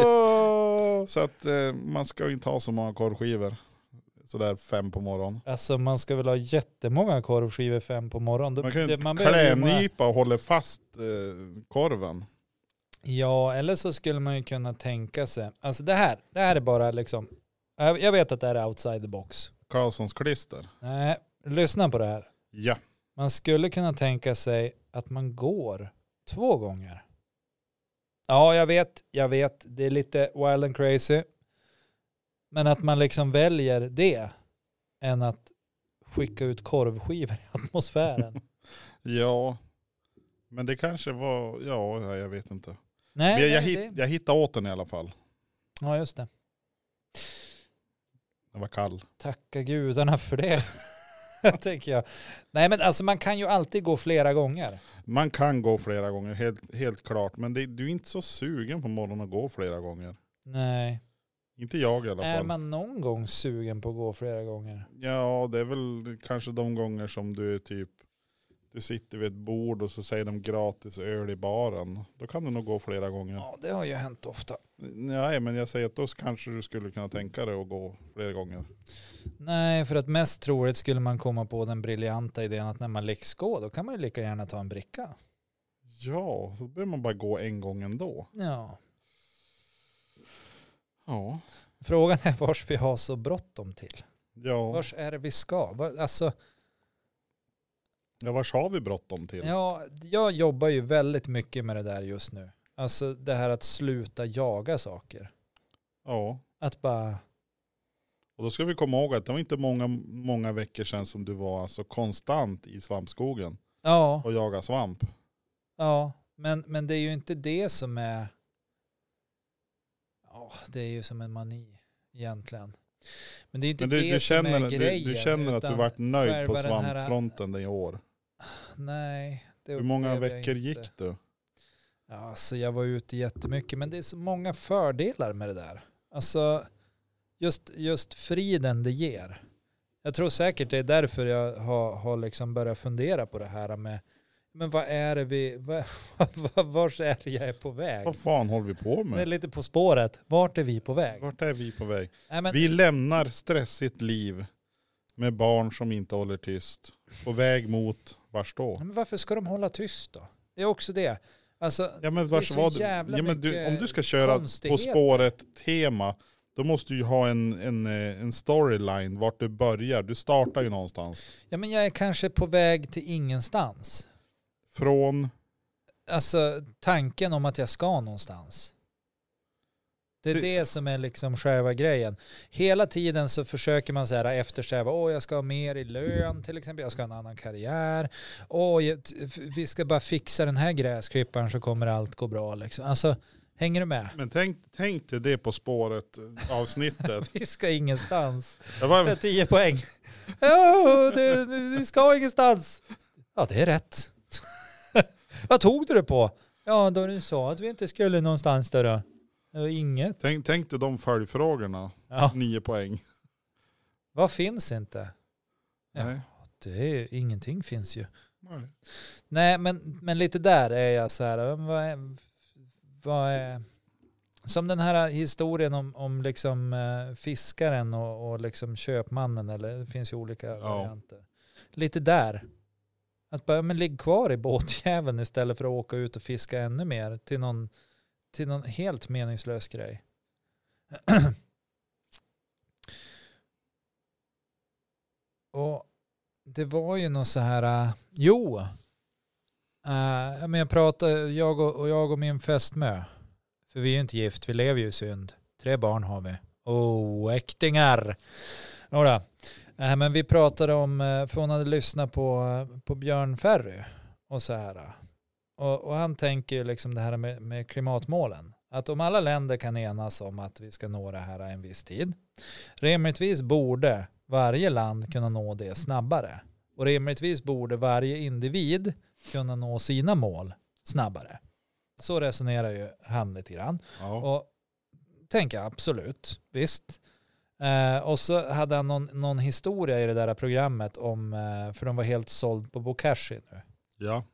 [SPEAKER 1] Så att eh, man ska ju inte ha så många korvskivor. Sådär fem på morgonen.
[SPEAKER 2] Alltså man ska väl ha jättemånga korvskivor fem på morgonen. Då-
[SPEAKER 1] Man kan ju
[SPEAKER 2] det-
[SPEAKER 1] man
[SPEAKER 2] behöver ju många-
[SPEAKER 1] klänypa och hålla fast eh, korven.
[SPEAKER 2] Ja, eller så skulle man ju kunna tänka sig. Alltså det här, det här är bara liksom. Jag jag vet att det här är outside the box.
[SPEAKER 1] Karlssons klister.
[SPEAKER 2] Nej, lyssna på det här.
[SPEAKER 1] Ja.
[SPEAKER 2] Man skulle kunna tänka sig att man går två gånger. Ja, jag vet, jag vet. Det är lite wild and crazy. Men att man liksom väljer det än att skicka ut korvskivor i
[SPEAKER 1] <laughs>
[SPEAKER 2] atmosfären.
[SPEAKER 1] Ja. Men det kanske var, ja nej, jag vet inte.
[SPEAKER 2] nej,
[SPEAKER 1] Men jag, jag,
[SPEAKER 2] nej,
[SPEAKER 1] hitt,
[SPEAKER 2] det-
[SPEAKER 1] jag hittade åt den i alla fall.
[SPEAKER 2] Ja, just det.
[SPEAKER 1] Den var kall.
[SPEAKER 2] Tacka gudarna för det. <laughs> tänker jag. Nej men alltså man kan ju alltid gå flera gånger.
[SPEAKER 1] Man kan gå flera gånger, helt, helt klart. Men det, du är inte så sugen på morgonen att gå flera gånger.
[SPEAKER 2] Nej.
[SPEAKER 1] Inte jag i alla
[SPEAKER 2] Är
[SPEAKER 1] fall.
[SPEAKER 2] man någon gång sugen på att gå flera gånger?
[SPEAKER 1] Ja, det är väl kanske de gånger som du är typ, du sitter vid ett bord och så säger de gratis öl i baren. Då kan du nog gå flera gånger.
[SPEAKER 2] Ja det har ju hänt ofta.
[SPEAKER 1] Nej, men jag säger att då kanske du skulle kunna tänka dig att gå flera gånger.
[SPEAKER 2] Nej för att mest troligt skulle man komma på den briljanta idén att när man leker skå då kan man ju lika gärna ta en bricka.
[SPEAKER 1] Ja, så behöver man bara gå en gång ändå.
[SPEAKER 2] Ja.
[SPEAKER 1] Ja.
[SPEAKER 2] Frågan är vars vi har så bråttom till.
[SPEAKER 1] Ja,
[SPEAKER 2] Vars är det vi ska? Var- Alltså,
[SPEAKER 1] ja vars har vi bråttom till?
[SPEAKER 2] ja, jag jobbar ju väldigt mycket med det där just nu. Alltså det här att sluta jaga saker.
[SPEAKER 1] Ja.
[SPEAKER 2] Att bara,
[SPEAKER 1] Och då ska vi komma ihåg att det var inte många, många veckor sedan som du var alltså konstant i svampskogen
[SPEAKER 2] ja,
[SPEAKER 1] och jagade svamp.
[SPEAKER 2] ja, men, men det är ju inte det som är, ja, det är ju som en mani egentligen. Men det är inte
[SPEAKER 1] Men du,
[SPEAKER 2] det
[SPEAKER 1] du,
[SPEAKER 2] som
[SPEAKER 1] känner,
[SPEAKER 2] är
[SPEAKER 1] du,
[SPEAKER 2] grejen.
[SPEAKER 1] du känner att du
[SPEAKER 2] utan-
[SPEAKER 1] varit nöjd på
[SPEAKER 2] själva den här-
[SPEAKER 1] svampfronten i år.
[SPEAKER 2] Nej. det
[SPEAKER 1] Hur många
[SPEAKER 2] upplever jag
[SPEAKER 1] veckor
[SPEAKER 2] inte.
[SPEAKER 1] gick du?
[SPEAKER 2] Ja, Alltså jag var ute jättemycket, men det är så många fördelar med det där. Alltså just, just friden det ger. Jag tror säkert det är därför jag har, har liksom börjat fundera på det här med, men vad är det vi, <laughs> vad, vad, vars är det jag är på väg?
[SPEAKER 1] Vad fan håller vi på
[SPEAKER 2] Det är
[SPEAKER 1] med?
[SPEAKER 2] lite på spåret, vart är vi på väg?
[SPEAKER 1] Vart är vi på väg?
[SPEAKER 2] Nej, men,
[SPEAKER 1] Vi lämnar stressigt liv med barn som inte håller tyst. På väg mot, vars då?
[SPEAKER 2] Nej, men varför ska de hålla tyst då? Det är också det. Alltså,
[SPEAKER 1] Ja men
[SPEAKER 2] Det
[SPEAKER 1] vars
[SPEAKER 2] är så
[SPEAKER 1] var det?
[SPEAKER 2] jävla
[SPEAKER 1] Ja, men du,
[SPEAKER 2] mycket
[SPEAKER 1] om du ska köra På
[SPEAKER 2] konstigheter.
[SPEAKER 1] spåret-tema, då måste du ju ha en, en, eh, en storyline vart du börjar. Du startar ju någonstans.
[SPEAKER 2] Ja, men jag är kanske på väg till ingenstans.
[SPEAKER 1] Från,
[SPEAKER 2] alltså tanken om att jag ska någonstans. Det är
[SPEAKER 1] Det-
[SPEAKER 2] det, som är liksom själva grejen. Hela tiden så försöker man så här eftersträva, åh jag ska ha mer i lön till exempel, jag ska ha en annan karriär, åh jag- t- vi ska bara fixa den här gräsklipparen så kommer allt gå bra liksom. Alltså, hänger du med? <laughs>
[SPEAKER 1] men tänk, tänk dig det På
[SPEAKER 2] <laughs>
[SPEAKER 1] spåret-avsnittet.
[SPEAKER 2] Vi ska ingenstans.
[SPEAKER 1] Jag
[SPEAKER 2] Det är
[SPEAKER 1] var,
[SPEAKER 2] 10 poäng. Ja, du, du, du ska ingenstans. Ja, det är rätt. <laughs> Vad tog du det på? Ja, då du sa att vi inte skulle någonstans där då. Det var inget.
[SPEAKER 1] tänk, tänk dig de följdfrågorna,
[SPEAKER 2] Ja.
[SPEAKER 1] nio poäng.
[SPEAKER 2] Vad finns inte? Ja.
[SPEAKER 1] Nej.
[SPEAKER 2] Det är, ingenting finns ju.
[SPEAKER 1] Nej.
[SPEAKER 2] Nej, men, men lite där är jag så här, men vad är, vad är, som den här historien om, om liksom eh, fiskaren och, och liksom köpmannen, eller det finns ju olika varianter. Lite där. Att bara, men ligg kvar i båtjäveln istället för att åka ut och fiska ännu mer till någon, till någon helt meningslös grej. <clears throat> och det var ju något så här, eh, jo, Eh, men jag pratade, jag och, och jag och min fästmö, för vi är ju inte gift, vi lever ju i synd. Tre barn har vi. Oh, äktingar! Några. Nej, men vi pratade om, eh, för hon hade lyssnat på, eh, på Björn Ferry och så här. eh. Och, och han tänker ju liksom det här med, med klimatmålen. Att om alla länder kan enas om att vi ska nå det här en viss tid, rimligtvis borde varje land kunna nå det snabbare. Och rimligtvis borde varje individ kunna nå sina mål snabbare. Så resonerar ju han lite grann.
[SPEAKER 1] Ja.
[SPEAKER 2] Och tänker jag, absolut, visst. Eh, och så hade han någon, någon historia i det där programmet om, eh, för de var helt såld på Bokashi nu.
[SPEAKER 1] ja,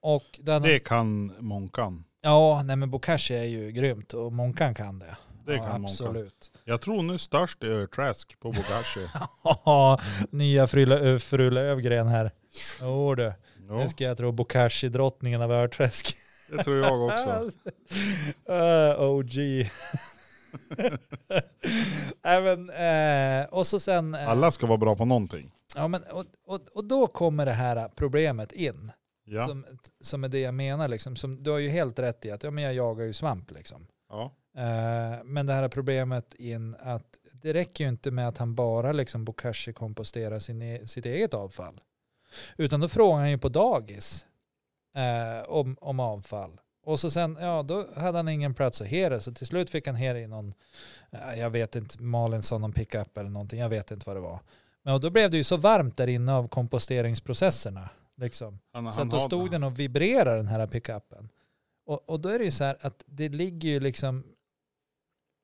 [SPEAKER 2] Och den,
[SPEAKER 1] det kan Månkan.
[SPEAKER 2] Ja, nej men Bokashi är ju grymt och Månkan kan det.
[SPEAKER 1] Det
[SPEAKER 2] ja,
[SPEAKER 1] kan Månkan.
[SPEAKER 2] absolut. <laughs>
[SPEAKER 1] Jag tror nu störst är Örträsk på Bogashi.
[SPEAKER 2] Haha, Nya Frule- Fru Lövgren här. Jo du,
[SPEAKER 1] Ja,
[SPEAKER 2] nu ska jag tro Bokashi-drottningen av Örträsk.
[SPEAKER 1] det tror jag också.
[SPEAKER 2] Eh, OG. <laughs> Även, eh, och så sen... eh,
[SPEAKER 1] Alla ska vara bra på någonting.
[SPEAKER 2] Ja, men, och, och, och då kommer det här problemet in.
[SPEAKER 1] Ja.
[SPEAKER 2] Som, som är det jag menar. Liksom, som, du har ju helt rätt i att ja, men jag jagar ju svamp. Liksom.
[SPEAKER 1] Ja.
[SPEAKER 2] Eh, men det här problemet in att det räcker ju inte med att han bara liksom Bokashi komposterar sin e- sitt eget avfall. Utan då frågar han ju på dagis eh, om, om avfall. Och så sen, ja då hade han ingen plats att hera så till slut fick han hera i någon, eh, jag vet inte, Malin sa någon pickup eller någonting, jag vet inte vad det var. Men och då blev det ju så varmt där inne av komposteringsprocesserna. Liksom.
[SPEAKER 1] Han,
[SPEAKER 2] Så
[SPEAKER 1] han
[SPEAKER 2] att då
[SPEAKER 1] har-
[SPEAKER 2] stod den och vibrerade den här pickuppen. Och, och då är det ju så här att det ligger ju liksom,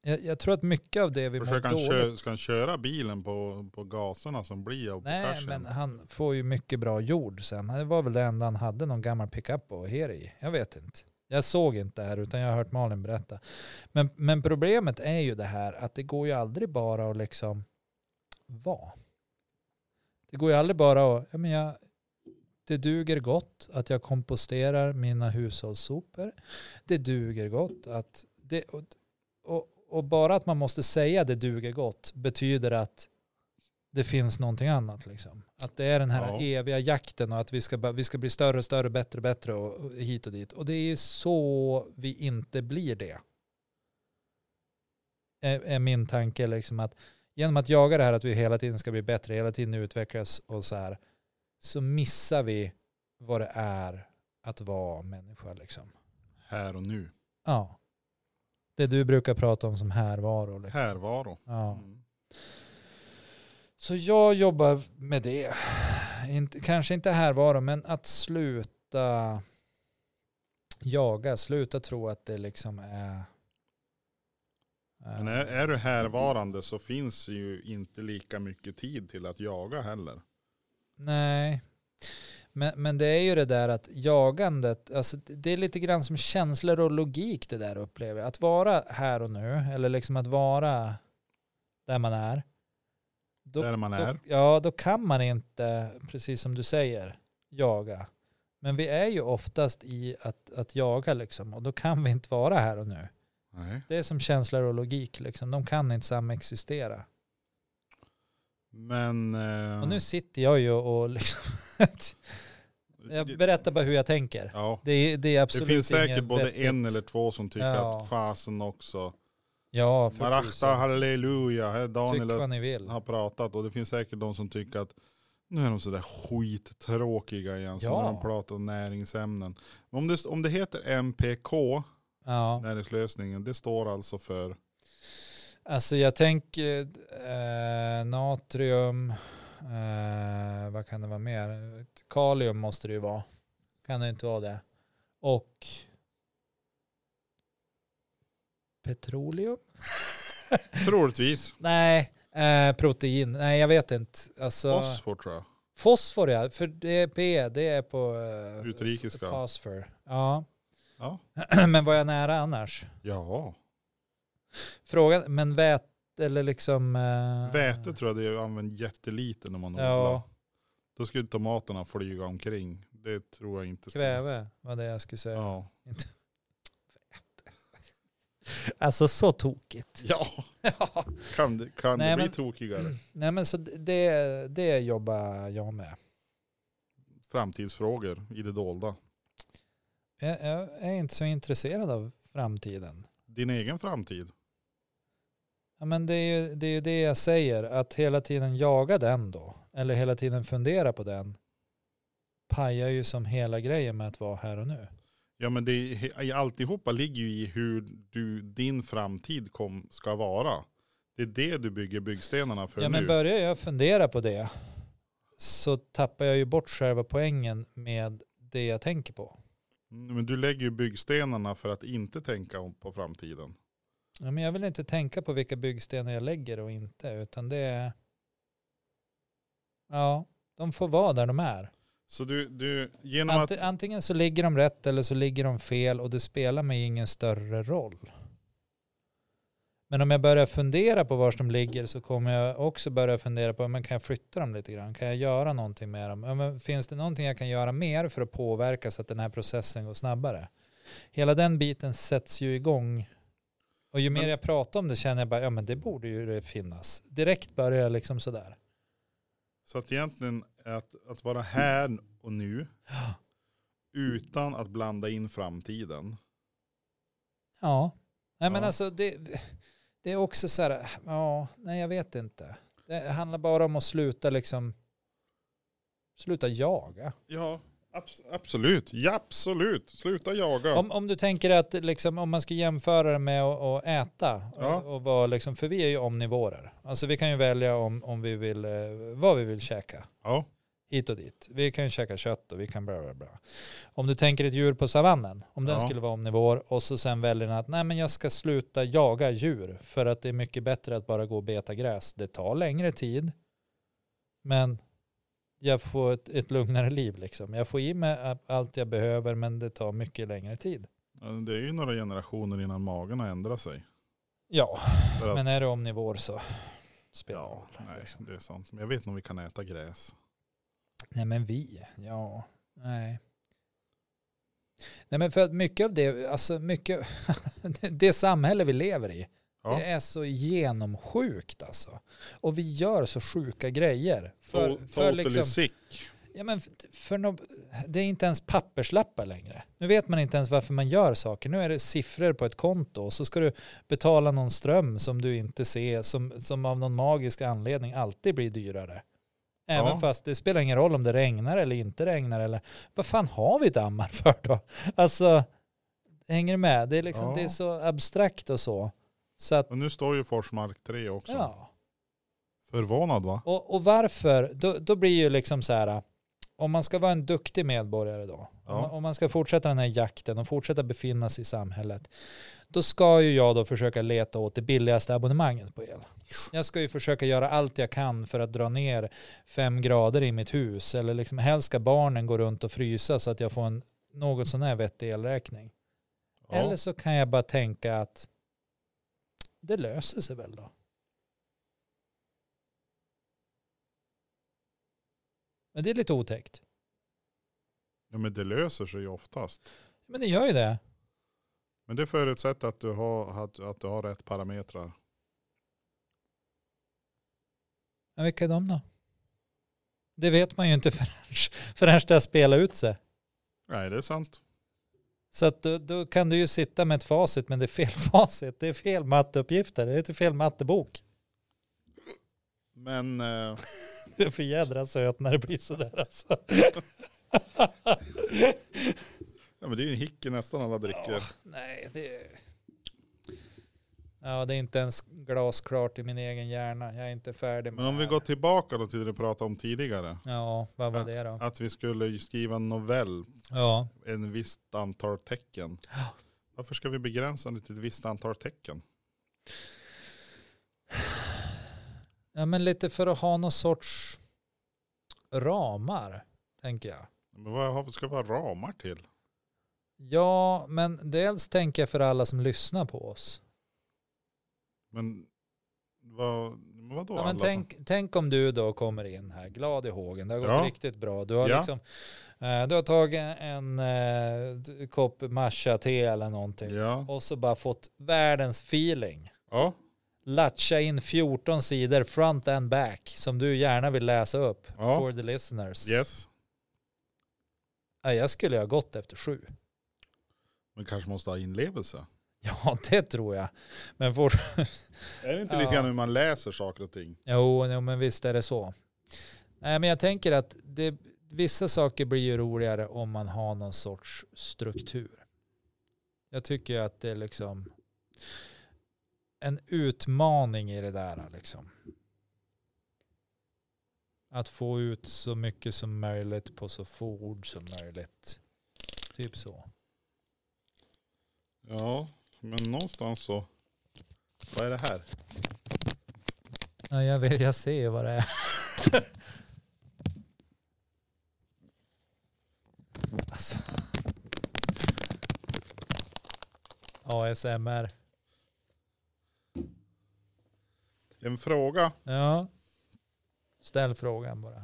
[SPEAKER 2] jag, jag tror att mycket av det vi mår
[SPEAKER 1] Försöker han
[SPEAKER 2] dåligt
[SPEAKER 1] kö, ska han köra bilen på, på gaserna som blir av
[SPEAKER 2] Nej,
[SPEAKER 1] persen?
[SPEAKER 2] men han får ju mycket bra jord sen. Det var väl det enda han hade någon gammal pickup och her i. Jag vet inte. Jag såg inte det här utan jag har hört Malin berätta. Men, men problemet är ju det här att det går ju aldrig bara att liksom vara. Det går ju aldrig bara att, ja men jag, det duger gott att jag komposterar mina hushållssopor. Det duger gott att, det, och, och, och bara att man måste säga det duger gott betyder att det finns någonting annat. Liksom. Att det är den här
[SPEAKER 1] Ja.
[SPEAKER 2] eviga jakten och att vi ska, bara- vi ska bli större, större, bättre, bättre och och hit och dit. Och det är ju så vi inte blir det. Är, är min tanke liksom att genom att jaga det här att vi hela tiden ska bli bättre, hela tiden utvecklas och så här, så missar vi vad det är att vara människa liksom.
[SPEAKER 1] Här och nu.
[SPEAKER 2] Ja. Det du brukar prata om som härvaro. Liksom.
[SPEAKER 1] Härvaro.
[SPEAKER 2] Ja.
[SPEAKER 1] Mm.
[SPEAKER 2] Så jag jobbar med det. Inte, kanske inte härvaro, men att sluta jaga, sluta tro att det liksom är... eh,
[SPEAKER 1] Men är, är du härvarande så finns ju inte lika mycket tid till att jaga heller.
[SPEAKER 2] Nej. Men, men det är ju det där att jagandet, alltså det- det är lite grann som känslor och logik det där upplever jag. Att vara här och nu, eller liksom att vara där man är. Då,
[SPEAKER 1] Där man
[SPEAKER 2] då,
[SPEAKER 1] är.
[SPEAKER 2] Ja, då kan man inte, precis som du säger, jaga. Men vi är ju oftast i att, att jaga liksom, och då kan vi inte vara här och nu.
[SPEAKER 1] Nej.
[SPEAKER 2] Det är som känslor och logik, liksom. de kan inte samexistera.
[SPEAKER 1] Men... Eh,
[SPEAKER 2] Och nu sitter jag ju och liksom, <laughs> jag berättar bara hur jag tänker.
[SPEAKER 1] Ja.
[SPEAKER 2] Det, är- det är
[SPEAKER 1] Det
[SPEAKER 2] absolut
[SPEAKER 1] finns säkert
[SPEAKER 2] ingen
[SPEAKER 1] både
[SPEAKER 2] vettigt-
[SPEAKER 1] en eller två som tycker
[SPEAKER 2] Ja.
[SPEAKER 1] att fasen också.
[SPEAKER 2] Ja, för
[SPEAKER 1] Marachta
[SPEAKER 2] tusan.
[SPEAKER 1] halleluja, här
[SPEAKER 2] Tyck
[SPEAKER 1] Daniel
[SPEAKER 2] vad ni vill.
[SPEAKER 1] har pratat. Och det finns säkert de som tycker att nu är de sådär skittråkiga igen. Som
[SPEAKER 2] Ja.
[SPEAKER 1] när de pratar om näringsämnen. Men om det, om det heter MPK,
[SPEAKER 2] Ja.
[SPEAKER 1] näringslösningen, det står alltså för
[SPEAKER 2] Alltså jag tänker eh, natrium, eh, vad kan det vara mer? Kalium måste det ju vara. Kan det inte vara det? Och petroleum? <laughs>
[SPEAKER 1] troligtvis
[SPEAKER 2] Nej, eh, protein. Nej, jag vet inte. Alltså,
[SPEAKER 1] fosfor tror jag.
[SPEAKER 2] Fosfor ja, för det är P, det är på eh,
[SPEAKER 1] Utrikiska.
[SPEAKER 2] f- Fosfor. Ja. <clears throat>
[SPEAKER 1] Ja.
[SPEAKER 2] men var jag nära annars?
[SPEAKER 1] Ja,
[SPEAKER 2] Frågan, men väte eller liksom... eh,
[SPEAKER 1] väte tror jag det är använt jättelite när man odlar.
[SPEAKER 2] Ja,
[SPEAKER 1] Då skulle tomaterna flyga omkring. Det tror jag inte. skulle-
[SPEAKER 2] kväve var det jag skulle säga. <laughs>
[SPEAKER 1] Ja.
[SPEAKER 2] Alltså så tokigt. <laughs>
[SPEAKER 1] ja, kan det, kan
[SPEAKER 2] Nej,
[SPEAKER 1] det bli
[SPEAKER 2] men-
[SPEAKER 1] tokigare?
[SPEAKER 2] Nej men så det, det jobbar jag med.
[SPEAKER 1] Framtidsfrågor i det dolda.
[SPEAKER 2] Jag, jag är inte så intresserad av framtiden.
[SPEAKER 1] Din egen framtid.
[SPEAKER 2] Ja, men det är, ju, det är ju det jag säger, att hela tiden jaga den då, eller hela tiden fundera på den, pajar ju som hela grejen med att vara här och nu.
[SPEAKER 1] Ja men det, i alltihopa ligger ju i hur du, din framtid kom, ska vara. Det är det du bygger byggstenarna för
[SPEAKER 2] Ja,
[SPEAKER 1] nu.
[SPEAKER 2] men börjar jag fundera på det så tappar jag ju bort själva poängen med det jag tänker på.
[SPEAKER 1] Mm, men du lägger ju byggstenarna för att inte tänka om- på framtiden.
[SPEAKER 2] Ja, men jag vill inte tänka på vilka byggstenar jag lägger och inte, utan det är... Ja, de får vara där de är.
[SPEAKER 1] Så du, du genom
[SPEAKER 2] Ant,
[SPEAKER 1] att...
[SPEAKER 2] antingen så ligger de rätt eller så ligger de fel och det spelar mig ingen större roll. Men om jag börjar fundera på var de ligger så kommer jag också börja fundera på, men kan jag flytta dem lite grann? Kan jag göra någonting med dem? Ja, men finns det någonting jag kan göra mer för att påverka så att den här processen går snabbare? Hela den biten sätts ju igång. Och ju mer
[SPEAKER 1] Men-
[SPEAKER 2] jag pratar om det känner jag bara, ja men det borde ju det finnas. Direkt börjar jag liksom sådär.
[SPEAKER 1] Så att egentligen att, att vara här och nu utan att blanda in framtiden.
[SPEAKER 2] Ja, nej men
[SPEAKER 1] Ja.
[SPEAKER 2] alltså det, det är också så här, ja, nej jag vet inte. Det handlar bara om att sluta liksom, sluta jaga.
[SPEAKER 1] Ja, Abs- absolut, ja, absolut. Sluta jaga.
[SPEAKER 2] Om, om du tänker att liksom, om man ska jämföra det med att, att äta,
[SPEAKER 1] Ja.
[SPEAKER 2] och, och vara liksom, för vi är ju omnivårer. Alltså vi kan ju välja om, om vi vill, eh, vad vi vill käka,
[SPEAKER 1] Ja,
[SPEAKER 2] hit och dit. Vi kan ju käka kött och vi kan bla bla bla. Om du tänker ett djur på savannen, om den
[SPEAKER 1] Ja.
[SPEAKER 2] skulle vara omnivår och så sen väljer den att nej men jag ska sluta jaga djur för att det är mycket bättre att bara gå och beta gräs. Det tar längre tid, men jag får ett, ett lugnare liv liksom. Jag får i mig a- allt jag behöver men det tar mycket längre tid.
[SPEAKER 1] det är ju några generationer innan magen har ändrat sig.
[SPEAKER 2] Ja,
[SPEAKER 1] För att-
[SPEAKER 2] men är det omnivår så spelar
[SPEAKER 1] ja,
[SPEAKER 2] det roll,
[SPEAKER 1] nej,
[SPEAKER 2] liksom.
[SPEAKER 1] det är sant. Men jag vet nog vi kan äta gräs.
[SPEAKER 2] Nej men vi, ja, nej. Nej men för att mycket av det, alltså mycket, <laughs> det samhälle vi lever i,
[SPEAKER 1] Ja.
[SPEAKER 2] det är så genomsjukt alltså. Och vi gör så sjuka grejer. För,
[SPEAKER 1] To-
[SPEAKER 2] för
[SPEAKER 1] totally
[SPEAKER 2] liksom,
[SPEAKER 1] sick.
[SPEAKER 2] ja men för, för nå- det är inte ens papperslappar längre. Nu vet man inte ens varför man gör saker. Nu är det siffror på ett konto och så ska du betala någon ström som du inte ser, som, som av någon magisk anledning alltid blir dyrare. Även
[SPEAKER 1] Ja.
[SPEAKER 2] fast det spelar ingen roll om det regnar eller inte regnar eller vad fan har vi dammar för då? Alltså, hänger du med? Det är, liksom,
[SPEAKER 1] Ja.
[SPEAKER 2] det är så abstrakt och så. Så att,
[SPEAKER 1] Och nu står ju Forsmark 3 också.
[SPEAKER 2] ja.
[SPEAKER 1] Förvånad va?
[SPEAKER 2] Och, och varför, då, då blir ju liksom så här, om man ska vara en duktig medborgare då,
[SPEAKER 1] Ja.
[SPEAKER 2] om, man- om man ska fortsätta den här jakten och fortsätta befinna sig i samhället, då ska ju jag då försöka leta åt det billigaste abonnemanget på el. Jag ska ju försöka göra allt jag kan för att dra ner fem grader i mitt hus, eller liksom helst ska barnen gå runt och frysa så att jag får en något sån här vettig elräkning.
[SPEAKER 1] Ja.
[SPEAKER 2] Eller så kan jag bara tänka att det löser sig väl då. Men det är lite otäckt.
[SPEAKER 1] Ja, men det löser sig ju oftast.
[SPEAKER 2] Men det gör ju det.
[SPEAKER 1] Men det förutsätter att du har, att, att du har rätt parametrar.
[SPEAKER 2] Men vilka är de då? Det vet man ju inte <laughs> förrän, förrän det har spelat ut sig.
[SPEAKER 1] Nej, det är sant.
[SPEAKER 2] Så att då, då kan du ju sitta med ett facit men det är fel <laughs> facit. Det är fel matteuppgifter. Det är inte fel mattebok.
[SPEAKER 1] Men eh,
[SPEAKER 2] Du är för jädra söt när det blir sådär alltså.
[SPEAKER 1] ja, men det är ju en hick i nästan alla dricker.
[SPEAKER 2] Ja, nej, det... Ja, det är inte ens glasklart i min egen hjärna. Jag är inte färdig med
[SPEAKER 1] Men om
[SPEAKER 2] det
[SPEAKER 1] vi
[SPEAKER 2] här.
[SPEAKER 1] går tillbaka då till det vi pratade om tidigare.
[SPEAKER 2] Ja, vad var det då?
[SPEAKER 1] Att vi skulle skriva en novell,
[SPEAKER 2] Ja,
[SPEAKER 1] en visst antal tecken.
[SPEAKER 2] Ja.
[SPEAKER 1] Varför ska vi begränsa det till ett visst antal tecken?
[SPEAKER 2] ja men lite för att ha någon sorts ramar, tänker jag.
[SPEAKER 1] Men vad har- ska vi ha ramar till?
[SPEAKER 2] Ja, men dels tänker jag för alla som lyssnar på oss.
[SPEAKER 1] Men vad, men vadå?
[SPEAKER 2] Ja, men
[SPEAKER 1] alla som-
[SPEAKER 2] tänk, tänk om du då kommer in här, glad i hågen, det har gått
[SPEAKER 1] Ja.
[SPEAKER 2] riktigt bra. Du har,
[SPEAKER 1] Ja.
[SPEAKER 2] liksom, eh, du har tagit en eh, kopp matcha-te eller någonting.
[SPEAKER 1] Ja.
[SPEAKER 2] och så bara fått världens feeling.
[SPEAKER 1] ja,
[SPEAKER 2] Latcha in 14 sidor front and back som du gärna vill läsa upp
[SPEAKER 1] ja,
[SPEAKER 2] for the listeners.
[SPEAKER 1] yes.
[SPEAKER 2] Ja, jag skulle ha gått efter sju. <laughs>
[SPEAKER 1] Men kanske måste ha inlevelse.
[SPEAKER 2] Ja, det tror jag. Men fort...
[SPEAKER 1] Är det inte
[SPEAKER 2] Ja.
[SPEAKER 1] lite grann hur man läser saker och ting?
[SPEAKER 2] jo, jo, men visst är det så. Nej, men jag tänker att det, vissa saker blir ju roligare om man har någon sorts struktur. Jag tycker ju att det är liksom en utmaning i det där liksom. Att få ut så mycket som möjligt på så få ord som möjligt. Typ så.
[SPEAKER 1] Ja, men någonstans så. Vad är det här?
[SPEAKER 2] Ja, jag, vet, jag ser ju vad det är.
[SPEAKER 1] <laughs>
[SPEAKER 2] alltså. ASMR.
[SPEAKER 1] En fråga.
[SPEAKER 2] Ja. Ställ frågan bara.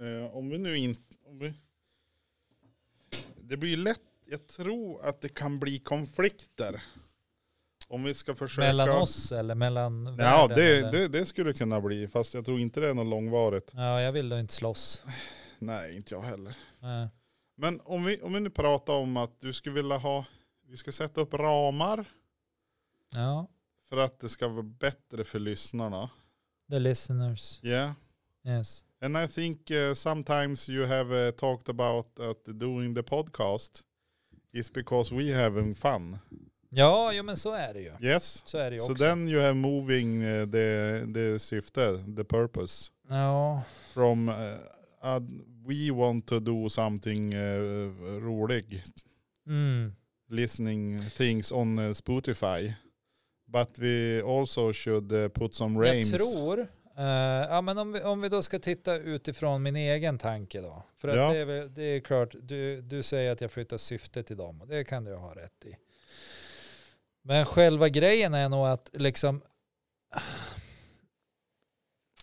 [SPEAKER 1] Eh, om vi nu inte... Om vi... Det blir ju lätt, jag tror att det kan bli konflikter. Om vi ska försöka...
[SPEAKER 2] Mellan oss eller mellan
[SPEAKER 1] Ja,
[SPEAKER 2] världen?
[SPEAKER 1] det,
[SPEAKER 2] eller?
[SPEAKER 1] det, det skulle kunna bli. Fast jag tror inte det är något långvarigt.
[SPEAKER 2] Ja, jag vill då inte slåss.
[SPEAKER 1] Nej, inte jag heller.
[SPEAKER 2] Nej.
[SPEAKER 1] Men om vi, om vi nu pratar om att du skulle vilja ha... Vi ska sätta upp ramar
[SPEAKER 2] Ja,
[SPEAKER 1] för att det ska vara bättre för lyssnarna.
[SPEAKER 2] the listeners.
[SPEAKER 1] Ja.
[SPEAKER 2] Yes.
[SPEAKER 1] And I think uh, sometimes you have uh, talked about that doing the podcast is because we having fun.
[SPEAKER 2] Ja, jo, men så är det ju.
[SPEAKER 1] Yes.
[SPEAKER 2] Så är det ju
[SPEAKER 1] So
[SPEAKER 2] också.
[SPEAKER 1] then you have moving uh, the the syfte, the purpose
[SPEAKER 2] Ja,
[SPEAKER 1] from uh, ad- we want to do something uh, rolig,
[SPEAKER 2] mm.
[SPEAKER 1] listening things on uh, Spotify, but we also should uh, put some
[SPEAKER 2] jag
[SPEAKER 1] rhymes.
[SPEAKER 2] tror, eh, ja, men om, vi, om vi då ska titta utifrån min egen tanke då. För att
[SPEAKER 1] Ja.
[SPEAKER 2] det, är, väl- det är klart, du, du säger att jag flyttar syftet i dem och det kan du ha rätt i. Men själva grejen är nog att liksom,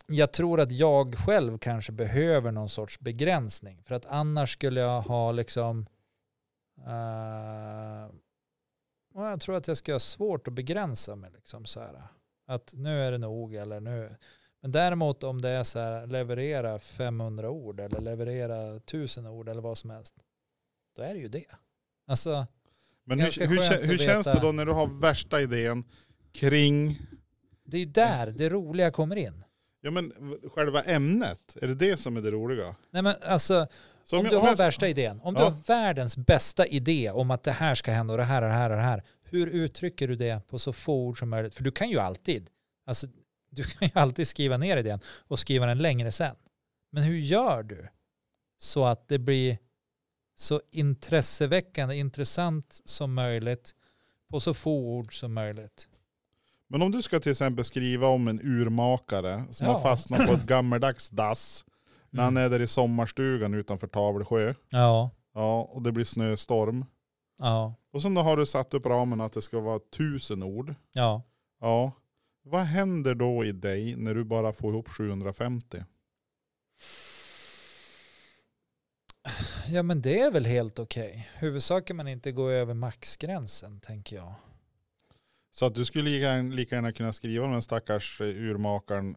[SPEAKER 2] jag tror att jag själv kanske behöver någon sorts begränsning. För att annars skulle jag ha liksom, eh, och jag tror att jag ska ha svårt att begränsa mig. Liksom så här. Att nu är det nog eller nu. Men däremot om det är så här, leverera 500 ord eller leverera 1000 ord eller vad som helst. Då är det ju det. Alltså,
[SPEAKER 1] Men hur,
[SPEAKER 2] Ganska
[SPEAKER 1] hur,
[SPEAKER 2] skönt
[SPEAKER 1] kä-
[SPEAKER 2] att
[SPEAKER 1] hur känns det
[SPEAKER 2] veta.
[SPEAKER 1] då när du har värsta idén kring
[SPEAKER 2] det är ju där det roliga kommer in.
[SPEAKER 1] ja, men, v- själva ämnet? Är det det som är det roliga?
[SPEAKER 2] Nej men alltså,
[SPEAKER 1] Så
[SPEAKER 2] om
[SPEAKER 1] jag-
[SPEAKER 2] du har
[SPEAKER 1] jag-
[SPEAKER 2] värsta idén, om du
[SPEAKER 1] Ja.
[SPEAKER 2] har världens bästa idé om att det här ska hända och det här och det här och det här. Hur uttrycker du det på så få ord som möjligt? För du kan ju alltid, alltså, du <laughs> kan ju alltid skriva ner idén och skriva den längre sen. Men hur gör du så att det blir så intresseväckande, intressant som möjligt på så få ord som möjligt?
[SPEAKER 1] Men om du ska till exempel skriva om en urmakare som
[SPEAKER 2] Ja. Mm.
[SPEAKER 1] har fastnat på ett gammaldags dass när han är där i sommarstugan utanför Tavelsjö.
[SPEAKER 2] Ja,
[SPEAKER 1] Ja, och det blir snöstorm.
[SPEAKER 2] ja,
[SPEAKER 1] Och sen då har du satt upp ramen att det ska vara tusen ord.
[SPEAKER 2] ja.
[SPEAKER 1] Ja. Vad händer då i dig när du bara får ihop 750?
[SPEAKER 2] Ja men det är väl helt okej. Huvudsaken man inte går över maxgränsen tänker jag.
[SPEAKER 1] Så att du skulle lika gärna- lika gärna kunna skriva om den stackars eh, urmakaren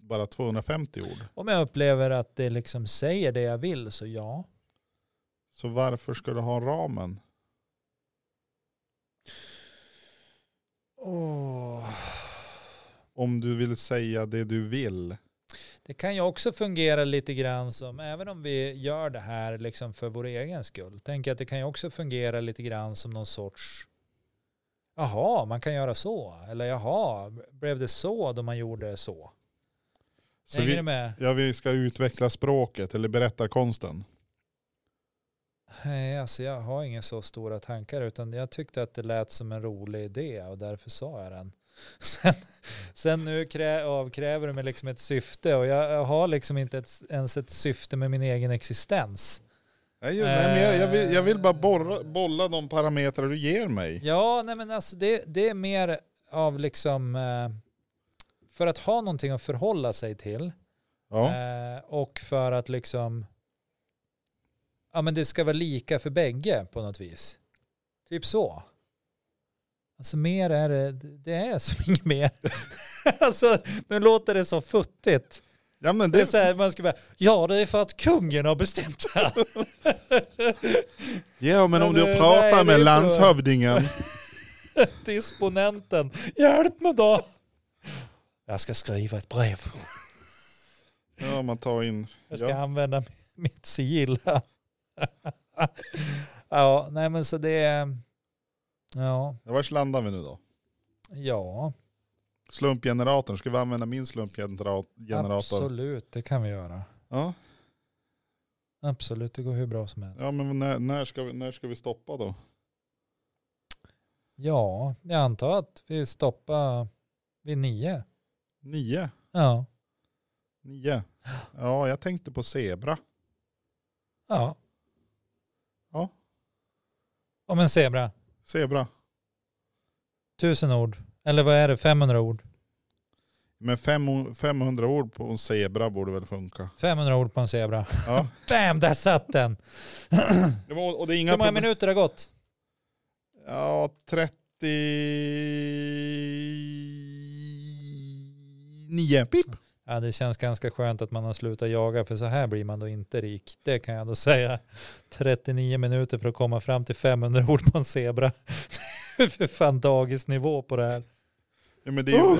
[SPEAKER 1] bara 250 ord.
[SPEAKER 2] Om jag upplever att det liksom säger det jag vill så ja.
[SPEAKER 1] Så varför ska du ha ramen? Om du vill säga det du vill.
[SPEAKER 2] Det kan ju också fungera lite grann som, även om vi gör det här liksom för vår egen skull, tänker jag att det kan ju också fungera lite grann som någon sorts, jaha, man kan göra så, eller jaha, blev det så då man gjorde så?
[SPEAKER 1] Så
[SPEAKER 2] Hänger
[SPEAKER 1] vi,
[SPEAKER 2] du med?
[SPEAKER 1] Ja, vi ska utveckla språket eller berättarkonsten.
[SPEAKER 2] Nej, alltså jag har inga så stora tankar utan jag tyckte att det lät som en rolig idé och därför sa jag den. <laughs> Sen, sen nu krä, avkräver du mig liksom ett syfte och jag, jag har liksom inte ett, ens ett syfte med min egen existens.
[SPEAKER 1] Nej, ju- nej, men jag, jag, vill, jag vill bara
[SPEAKER 2] Eh.
[SPEAKER 1] borra, bolla de parametrar du ger mig.
[SPEAKER 2] Ja, nej men alltså det, det är mer av liksom eh, för att ha någonting att förhålla sig till
[SPEAKER 1] Ja.
[SPEAKER 2] eh, och för att liksom ja men det ska vara lika för bägge på något vis. Typ så. Alltså mer är det, det är som <laughs> inget mer. alltså nu låter det så futtigt.
[SPEAKER 1] Ja, men
[SPEAKER 2] Det är
[SPEAKER 1] det,
[SPEAKER 2] så här, man ska bara, ja det är för att kungen har bestämt det här. <laughs>
[SPEAKER 1] ja, men om
[SPEAKER 2] Men,
[SPEAKER 1] du
[SPEAKER 2] eh, nej, det
[SPEAKER 1] pratar
[SPEAKER 2] är
[SPEAKER 1] med
[SPEAKER 2] för-
[SPEAKER 1] landshövdingen.
[SPEAKER 2] Disponenten, hjälp mig då. Jag ska skriva ett brev.
[SPEAKER 1] <laughs> Ja, man tar in.
[SPEAKER 2] Jag ska
[SPEAKER 1] Ja.
[SPEAKER 2] använda <laughs> mitt sigill här. <laughs> ja, nej men så det är... Ja,
[SPEAKER 1] Ja, Vart landar vi nu då?
[SPEAKER 2] ja
[SPEAKER 1] Slumpgeneratorn, ska vi använda min slumpgenerator?
[SPEAKER 2] absolut det kan vi göra.
[SPEAKER 1] Ja.
[SPEAKER 2] Absolut, det går hur bra som helst.
[SPEAKER 1] ja, men när, när, ska vi, när ska vi stoppa då?
[SPEAKER 2] Ja, jag antar att vi stoppar vid nio.
[SPEAKER 1] Nio?
[SPEAKER 2] Ja,
[SPEAKER 1] Nio? Ja, jag tänkte på zebra.
[SPEAKER 2] ja.
[SPEAKER 1] Ja.
[SPEAKER 2] Om en zebra,
[SPEAKER 1] Zebra.
[SPEAKER 2] tusen ord. Eller vad är det, 500 ord?
[SPEAKER 1] Men fem, 500 ord på en zebra borde väl funka?
[SPEAKER 2] 500 ord på en zebra. <laughs>
[SPEAKER 1] Ja.
[SPEAKER 2] Bam, där satt den!
[SPEAKER 1] Ja, men Och och <laughs> det är inga
[SPEAKER 2] Hur många
[SPEAKER 1] problem-
[SPEAKER 2] minuter har gått?
[SPEAKER 1] Ja, 39. Pip.
[SPEAKER 2] Ja, det känns ganska skönt att man har slutat jaga för så här blir man då inte rik. Det kan jag ändå säga. 39 minuter för att komma fram till 500 ord <laughs> på en zebra. Det är för fan dagisnivå på det här.
[SPEAKER 1] Ja, men det, är ju,
[SPEAKER 2] Uh.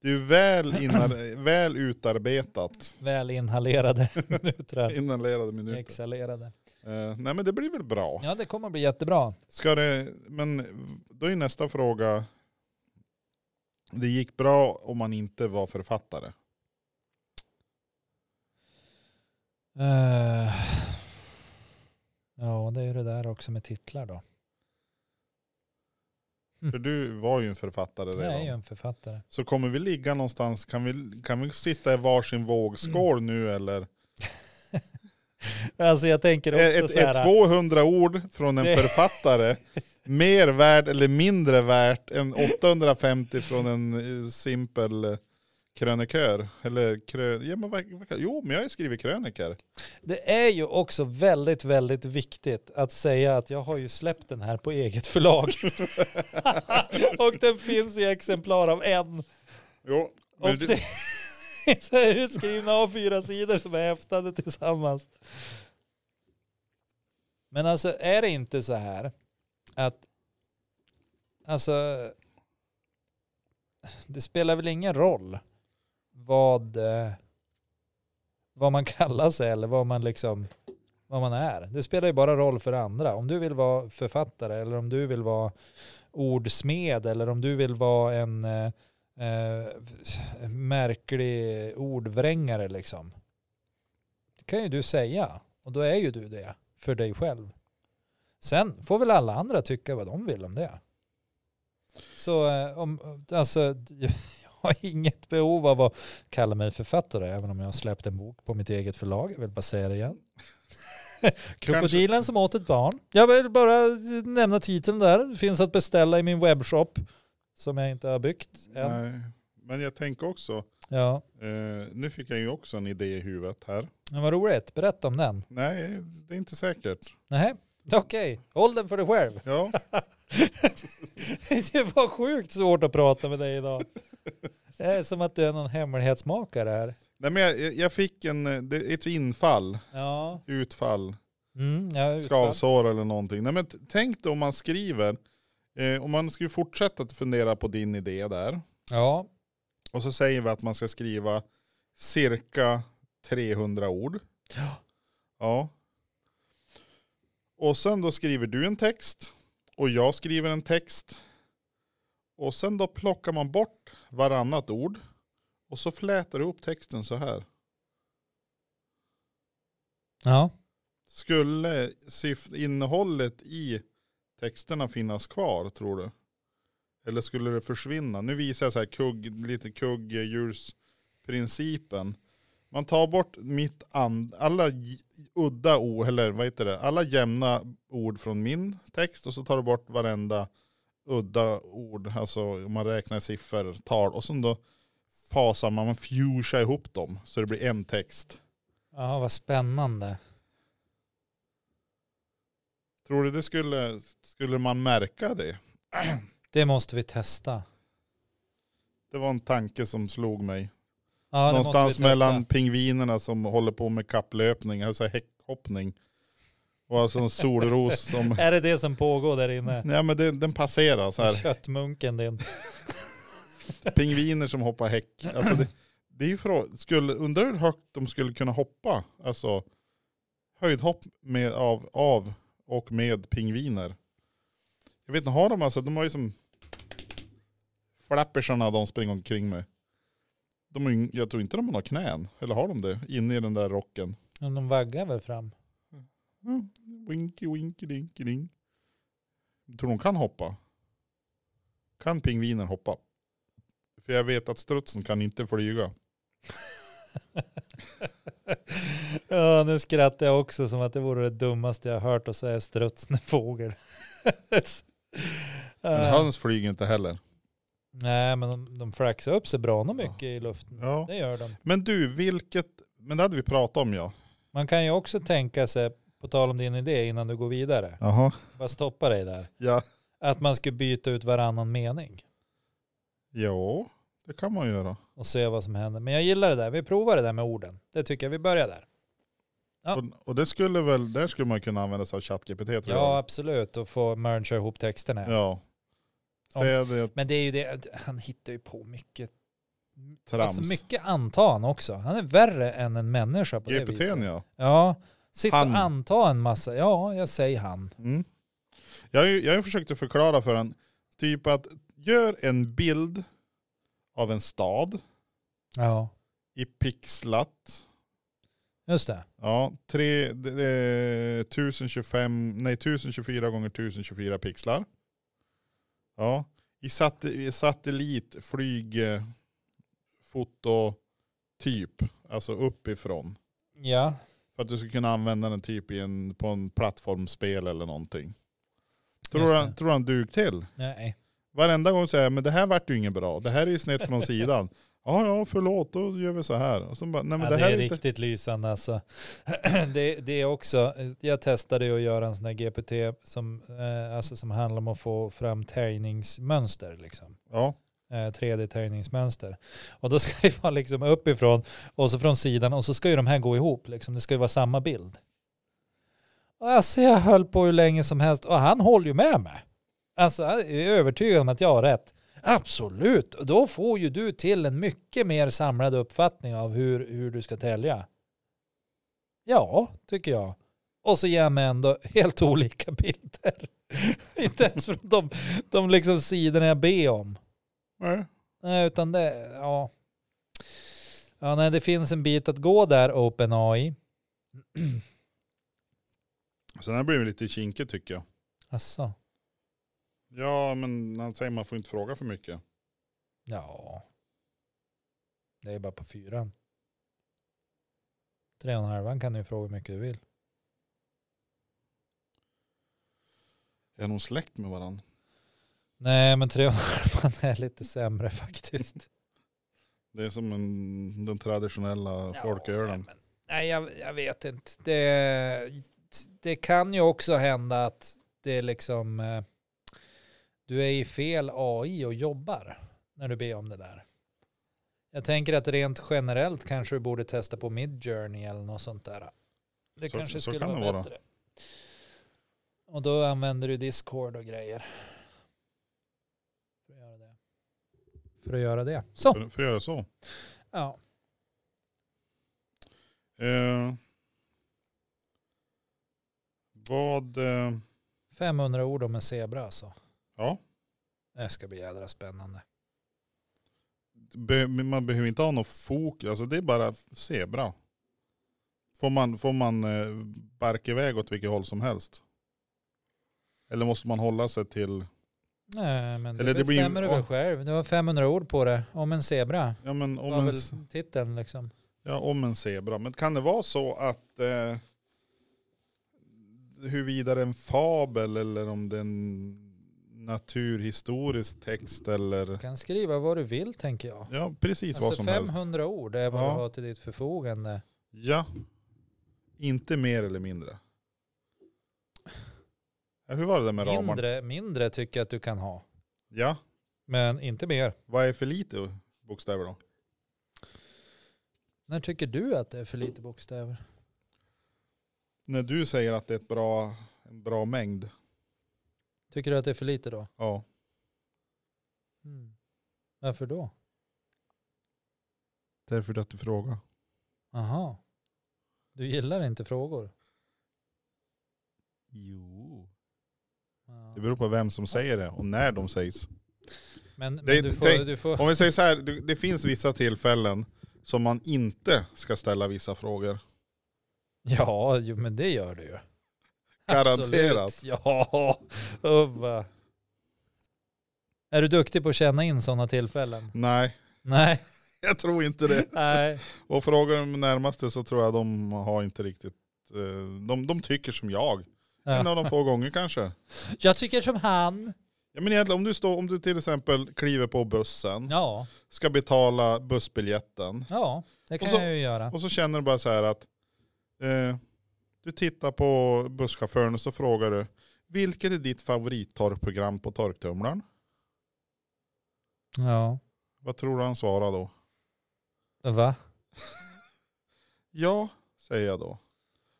[SPEAKER 1] Det är ju väl, inar- väl utarbetat.
[SPEAKER 2] Väl inhalerade <laughs> minuter. här.
[SPEAKER 1] Inhalerade minuter.
[SPEAKER 2] Exhalerade.
[SPEAKER 1] Eh, nej men det blir väl bra.
[SPEAKER 2] Ja, det kommer bli jättebra.
[SPEAKER 1] Ska det, men då är nästa fråga. Det gick bra om man inte var författare.
[SPEAKER 2] Eh, ja, det är ju det där också med titlar då.
[SPEAKER 1] För du var ju en författare
[SPEAKER 2] Jag är ju
[SPEAKER 1] redan.
[SPEAKER 2] en författare.
[SPEAKER 1] Så kommer vi ligga någonstans, kan vi, kan vi sitta i varsin vågskål
[SPEAKER 2] Mm.
[SPEAKER 1] nu eller?
[SPEAKER 2] Alltså jag tänker också
[SPEAKER 1] Är,
[SPEAKER 2] så
[SPEAKER 1] är,
[SPEAKER 2] här.
[SPEAKER 1] är 200 ord från en
[SPEAKER 2] Det- <laughs>
[SPEAKER 1] författare mer värd eller mindre värt än 850 från en eh, simpel eh, krönikör? Eller krö, ja, men, vad- vad- jo, men jag har ju skrivit krönikor.
[SPEAKER 2] Det är ju också väldigt, väldigt viktigt att säga att jag har ju släppt den här på eget förlag. <laughs> och den finns i exemplar av en.
[SPEAKER 1] Jo,
[SPEAKER 2] Och
[SPEAKER 1] men det,
[SPEAKER 2] det är <laughs> så här utskrivna A4-sidor som är häftade tillsammans. Men alltså är det inte så här att alltså det spelar väl ingen roll vad eh, vad man <laughs> kallar sig eller vad man liksom vad man är. Det spelar ju bara roll för andra. Om du vill vara författare eller om du vill vara ordsmed eller om du vill vara en eh, eh, märklig ordvrängare liksom. Det kan ju du säga och då är ju du det för dig själv. Sen får väl alla andra tycka vad de vill om det. Så eh, om, alltså, <laughs> jag har inget behov av att kalla mig författare även om jag har släppt en bok på mitt eget förlag. Jag vill bara säga det igen. Krokodilen som åt ett barn. Jag vill bara nämna titeln där. Finns att beställa i min webbshop som jag inte har byggt än.
[SPEAKER 1] nej, men jag tänker också,
[SPEAKER 2] Ja,
[SPEAKER 1] eh, nu fick jag ju också en idé i huvudet här.
[SPEAKER 2] men vad roligt. Berätta om den.
[SPEAKER 1] Nej, det är inte säkert.
[SPEAKER 2] Nej, okej. Håll den för dig själv.
[SPEAKER 1] Ja,
[SPEAKER 2] <laughs> Det var sjukt svårt att prata med dig idag. Det är som att du är någon hemlighetsmakare här.
[SPEAKER 1] <laughs> nej, men jag, jag fick en, eh, det- ett infall,
[SPEAKER 2] Ja,
[SPEAKER 1] utfall.
[SPEAKER 2] mm, ja utfall.
[SPEAKER 1] skavsår eller någonting. Nej, men t- tänk dig om man skriver, eh, om man skulle fortsätta att fundera på din idé där.
[SPEAKER 2] Ja,
[SPEAKER 1] Och så säger vi att man ska skriva cirka 300 ord. Ja. Och sen då skriver du en text och jag skriver en text. Och sen då plockar man bort varannat ord. Och så flätar du upp texten så här.
[SPEAKER 2] ja,
[SPEAKER 1] Skulle syft- innehållet i texterna finnas kvar tror du? Eller skulle det försvinna? Nu visar jag så här kugg, lite kugghjulsprincipen. Man tar bort mitt and, alla j- udda ord, eller vad heter det, alla jämna ord från min text och så tar du bort varenda udda ord, alltså om man räknar siffror, tal och sen då fasar man, man fusar ihop dem så det blir en text.
[SPEAKER 2] ja, vad spännande.
[SPEAKER 1] Tror du det skulle, skulle man märka det?
[SPEAKER 2] Det måste vi testa.
[SPEAKER 1] Det var en tanke som slog mig.
[SPEAKER 2] Ja, det
[SPEAKER 1] Någonstans
[SPEAKER 2] måste vi testa.
[SPEAKER 1] mellan pingvinerna som håller på med kapplöpning, alltså häckhoppning. Och alltså en solros
[SPEAKER 2] <laughs>
[SPEAKER 1] som...
[SPEAKER 2] Är det det som pågår där inne?
[SPEAKER 1] Nej men det, den passerar så här.
[SPEAKER 2] Köttmunken din.
[SPEAKER 1] Pingviner som hoppar häck. Alltså det, det är ju frå- skulle, undrar hur högt de skulle kunna hoppa. Alltså höjdhopp med, av, av och med pingviner. Jag vet inte, har de alltså, de har ju som flappersarna de springer omkring med. De har, ju- jag tror inte de har några knän, eller har de det? Inne i den där rocken.
[SPEAKER 2] Men De vaggar väl fram.
[SPEAKER 1] Mm. Winky, winky, dinky, ding. Tror de kan hoppa? Kan pingvinen hoppa? För jag vet att strutsen kan inte flyga.
[SPEAKER 2] Ja, nu skrattar jag också som att det vore det dummaste jag hört att säga struts när <laughs> fågel.
[SPEAKER 1] Men
[SPEAKER 2] Eh,
[SPEAKER 1] höns flyger inte heller.
[SPEAKER 2] Nej, men de, de flaxar upp sig bra nog mycket i luften.
[SPEAKER 1] Ja.
[SPEAKER 2] Det gör de.
[SPEAKER 1] Men du, vilket... Men det hade vi pratat om ja.
[SPEAKER 2] Man kan ju också tänka sig, på tal om din idé innan du går vidare,
[SPEAKER 1] Jaha.
[SPEAKER 2] bara stoppa dig där,
[SPEAKER 1] Ja.
[SPEAKER 2] att man skulle byta ut varannan mening
[SPEAKER 1] Jo, det kan man göra.
[SPEAKER 2] och se vad som händer. Men jag gillar det där, vi provar det där med orden. Det tycker jag, vi börjar där. Ja.
[SPEAKER 1] Och, och det skulle väl, där skulle man kunna använda sig av ChatGPT tror
[SPEAKER 2] Ja,
[SPEAKER 1] jag.
[SPEAKER 2] absolut, och få mergea ihop texterna.
[SPEAKER 1] Ja. Säga det.
[SPEAKER 2] Men det är ju det, han hittar ju på mycket
[SPEAKER 1] Trams.
[SPEAKER 2] Alltså mycket anta han också. Han är värre än en människa på det viset.
[SPEAKER 1] GPT'n ja.
[SPEAKER 2] Ja, sitt
[SPEAKER 1] Han.
[SPEAKER 2] och anta en massa. Ja, jag säger han.
[SPEAKER 1] Mm. Jag, har ju- jag har ju försökt förklara för en typ att gör en bild av en stad
[SPEAKER 2] Ja,
[SPEAKER 1] i pixlat.
[SPEAKER 2] just det.
[SPEAKER 1] Ja, tre, det- det- 1025, nej 1024 gånger 1024 pixlar. Ja, i, sat, i satellit, flyg, eh, foto, typ, alltså uppifrån.
[SPEAKER 2] Ja,
[SPEAKER 1] För att du ska kunna använda den typ i en, på en plattformsspel eller någonting. Tror
[SPEAKER 2] Just
[SPEAKER 1] han,
[SPEAKER 2] det.
[SPEAKER 1] tror han dug till?
[SPEAKER 2] nej.
[SPEAKER 1] Varenda gång säger jag, men det här vart ju inget bra. Det här är ju snett från sidan. <laughs> Ja, ja, förlåt, då gör vi så här. Och så bara, nej, men
[SPEAKER 2] ja,
[SPEAKER 1] det,
[SPEAKER 2] det,
[SPEAKER 1] här
[SPEAKER 2] är
[SPEAKER 1] är inte...
[SPEAKER 2] riktigt lysande alltså. <clears throat> det, det är också, jag testade ju att göra en sån här GPT som, eh, alltså som handlar om att få fram tärningsmönster liksom.
[SPEAKER 1] Ja,
[SPEAKER 2] eh, 3D-tärningsmönster. Och då <laughs> ska det vara liksom uppifrån och så från sidan och så ska ju de här gå ihop liksom. Det ska ju vara samma bild. Och alltså jag höll på hur länge som helst och han håller ju med mig. Alltså jag är övertygad om att jag har rätt. Absolut, Och då får ju du till en mycket mer samlad uppfattning av hur, hur du ska tälja. Ja, tycker jag. Och så ger han mig ändå <laughs> helt olika bilder. <laughs> Inte ens från de, de liksom sidorna jag ber om.
[SPEAKER 1] nej.
[SPEAKER 2] Nej, utan det, ja. Ja, nej, det finns en bit att gå där, OpenAI.
[SPEAKER 1] Så den här blir lite kinkig tycker jag.
[SPEAKER 2] Alltså,
[SPEAKER 1] Ja, men han säger man får inte fråga för mycket.
[SPEAKER 2] ja. Det är bara på fyran. Tre och en halvan kan du ju fråga hur mycket du vill.
[SPEAKER 1] Är de släkt med varandra?
[SPEAKER 2] Nej, men tre och en halvan är lite sämre <laughs> faktiskt.
[SPEAKER 1] Det är som en, den traditionella folkölen.
[SPEAKER 2] Ja, men- Nej, jag, jag vet inte. Det, det kan ju också hända att det är liksom... eh, Du är i fel AI och jobbar när du ber om det där. Jag tänker att rent generellt kanske du borde testa på Midjourney eller något sånt där. Det
[SPEAKER 1] Så-
[SPEAKER 2] kanske
[SPEAKER 1] så
[SPEAKER 2] skulle
[SPEAKER 1] kan det
[SPEAKER 2] vara
[SPEAKER 1] vara.
[SPEAKER 2] bättre. Och då använder du Discord och grejer. För att göra det. För att göra det. Så.
[SPEAKER 1] För, för att göra så.
[SPEAKER 2] Ja.
[SPEAKER 1] Eh, vad... Eh,
[SPEAKER 2] 500 ord om en zebra alltså.
[SPEAKER 1] ja,
[SPEAKER 2] Det ska bli jädra spännande.
[SPEAKER 1] be, men man behöver inte ha någon fokus. Alltså det är bara zebra. Får man, får man eh, barka iväg åt vilket håll som helst? Eller måste man hålla sig till...
[SPEAKER 2] Nej, men det
[SPEAKER 1] Eller det blir-
[SPEAKER 2] bestämmer du väl själv. Du har 500 ord på det. Om en zebra.
[SPEAKER 1] Ja men om
[SPEAKER 2] Var
[SPEAKER 1] en,
[SPEAKER 2] väl titeln liksom.
[SPEAKER 1] ja, om en zebra. Men kan det vara så att... Eh, huruvida det är en fabel eller om det är en naturhistorisk text eller...
[SPEAKER 2] Du kan skriva vad du vill tänker jag.
[SPEAKER 1] Ja precis vad
[SPEAKER 2] Alltså
[SPEAKER 1] som helst.
[SPEAKER 2] 500 ord är vad
[SPEAKER 1] Ja.
[SPEAKER 2] du har till ditt förfogande.
[SPEAKER 1] Ja. Inte mer eller mindre. Ja, hur var det där med ramarna?
[SPEAKER 2] Mindre, mindre tycker jag att du kan ha.
[SPEAKER 1] Ja.
[SPEAKER 2] Men inte mer.
[SPEAKER 1] Vad är för lite bokstäver då?
[SPEAKER 2] När tycker du att det är för lite bokstäver?
[SPEAKER 1] När du säger att det är ett bra, en bra mängd.
[SPEAKER 2] Tycker du att det är för lite då?
[SPEAKER 1] Ja.
[SPEAKER 2] Mm. Varför då?
[SPEAKER 1] Därför att du frågar.
[SPEAKER 2] Aha. Du gillar inte frågor.
[SPEAKER 1] Jo.
[SPEAKER 2] Ja.
[SPEAKER 1] Det beror på vem som säger det och när de sägs.
[SPEAKER 2] Men, men
[SPEAKER 1] Det-
[SPEAKER 2] du får...
[SPEAKER 1] tänk-
[SPEAKER 2] Du får
[SPEAKER 1] Om vi säger så här, det det finns vissa tillfällen som man inte ska ställa vissa frågor.
[SPEAKER 2] Ja, jo, men det gör du ju.
[SPEAKER 1] Garanterat.
[SPEAKER 2] Absolut. Ja, Ubba. Är du duktig på att känna in sådana tillfällen?
[SPEAKER 1] Nej,
[SPEAKER 2] Nej,
[SPEAKER 1] jag tror inte det.
[SPEAKER 2] nej.
[SPEAKER 1] Och frågar de närmaste så tror jag de har inte riktigt, eh, de, de tycker som jag. En av de få gånger kanske.
[SPEAKER 2] Jag tycker som han.
[SPEAKER 1] Ja, men egentligen, om, du står, om du till exempel kliver på bussen,
[SPEAKER 2] Ja,
[SPEAKER 1] ska betala bussbiljetten
[SPEAKER 2] ja, det kan
[SPEAKER 1] Och så-
[SPEAKER 2] jag ju göra.
[SPEAKER 1] och så känner du bara så här att eh, du tittar på busschauffören och så frågar du vilket är ditt favorittorkprogram på torktumlaren?
[SPEAKER 2] Ja,
[SPEAKER 1] Vad tror du han svarar då?
[SPEAKER 2] va?
[SPEAKER 1] Ja, säger jag då.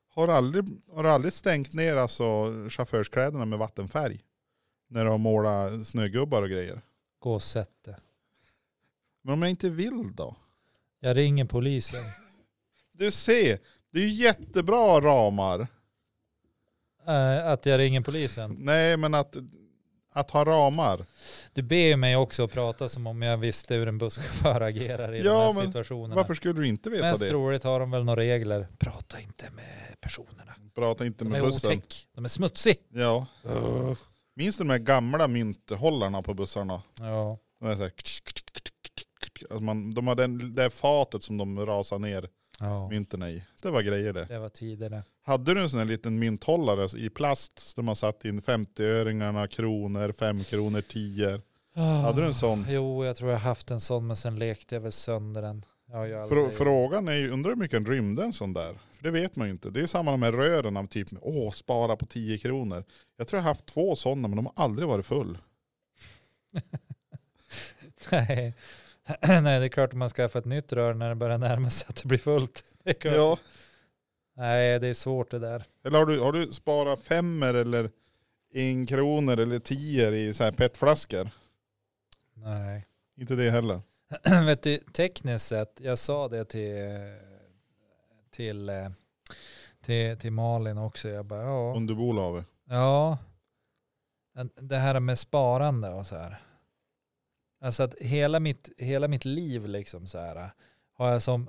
[SPEAKER 1] Har du aldrig, har du aldrig stängt ner alltså chaufförskläderna med vattenfärg? När de målar snögubbar och grejer.
[SPEAKER 2] Gå och sätt det.
[SPEAKER 1] Men om jag inte vill då?
[SPEAKER 2] Jag ringer polisen.
[SPEAKER 1] Du ser, det är ju jättebra ramar.
[SPEAKER 2] Eh, att jag ringer polisen.
[SPEAKER 1] Nej men att, att ha ramar.
[SPEAKER 2] Du ber ju mig också att prata som om jag visste hur en busschaufför agerar i
[SPEAKER 1] Ja,
[SPEAKER 2] de här
[SPEAKER 1] men
[SPEAKER 2] situationerna.
[SPEAKER 1] Varför skulle du inte veta
[SPEAKER 2] Mest
[SPEAKER 1] det?
[SPEAKER 2] troligt har de väl några regler. Prata inte med personerna.
[SPEAKER 1] Prata inte
[SPEAKER 2] De
[SPEAKER 1] med
[SPEAKER 2] är
[SPEAKER 1] bussen.
[SPEAKER 2] otäck. De är smutsig.
[SPEAKER 1] Ja. Minns du de här gamla mynthållarna på bussarna?
[SPEAKER 2] Ja.
[SPEAKER 1] De, är så här, alltså man, de hade en, det här fatet som de rasade ner
[SPEAKER 2] ja,
[SPEAKER 1] mynten i. Det var grejer det.
[SPEAKER 2] det var tidigare.
[SPEAKER 1] Hade du en sån här liten mynthållare i plast där man satt in 50-öringarna, kronor, 5 kronor, 10 Hade du en sån?
[SPEAKER 2] Jo, jag tror jag haft en sån men sen lekte jag väl sönder den. Ja, jag har
[SPEAKER 1] Frå-
[SPEAKER 2] aldrig-
[SPEAKER 1] Frågan är ju, undrar hur mycket en rymde en sån där? För det vet man ju inte. Det är samma med rören av typ, åh spara på 10 kronor. Jag tror jag har haft två sådana men de har aldrig varit full.
[SPEAKER 2] <laughs> Nej. <clears throat> Nej, det är klart att man skaffar ett nytt rör när det börjar närma sig att det blir fullt. <laughs> Det är klart.
[SPEAKER 1] Ja.
[SPEAKER 2] Nej, det är svårt det där.
[SPEAKER 1] Eller har du, har du sparat femmer eller en kronor eller tio i så här petflaskor?
[SPEAKER 2] Nej. <clears throat>
[SPEAKER 1] Inte det heller.
[SPEAKER 2] vet du, tekniskt sett, jag sa det till, till, eh, till, till Malin också, jag bara ja,
[SPEAKER 1] Om du bor av
[SPEAKER 2] ja, det här med sparande och så här. Alltså att hela mitt, hela mitt liv liksom så här har jag som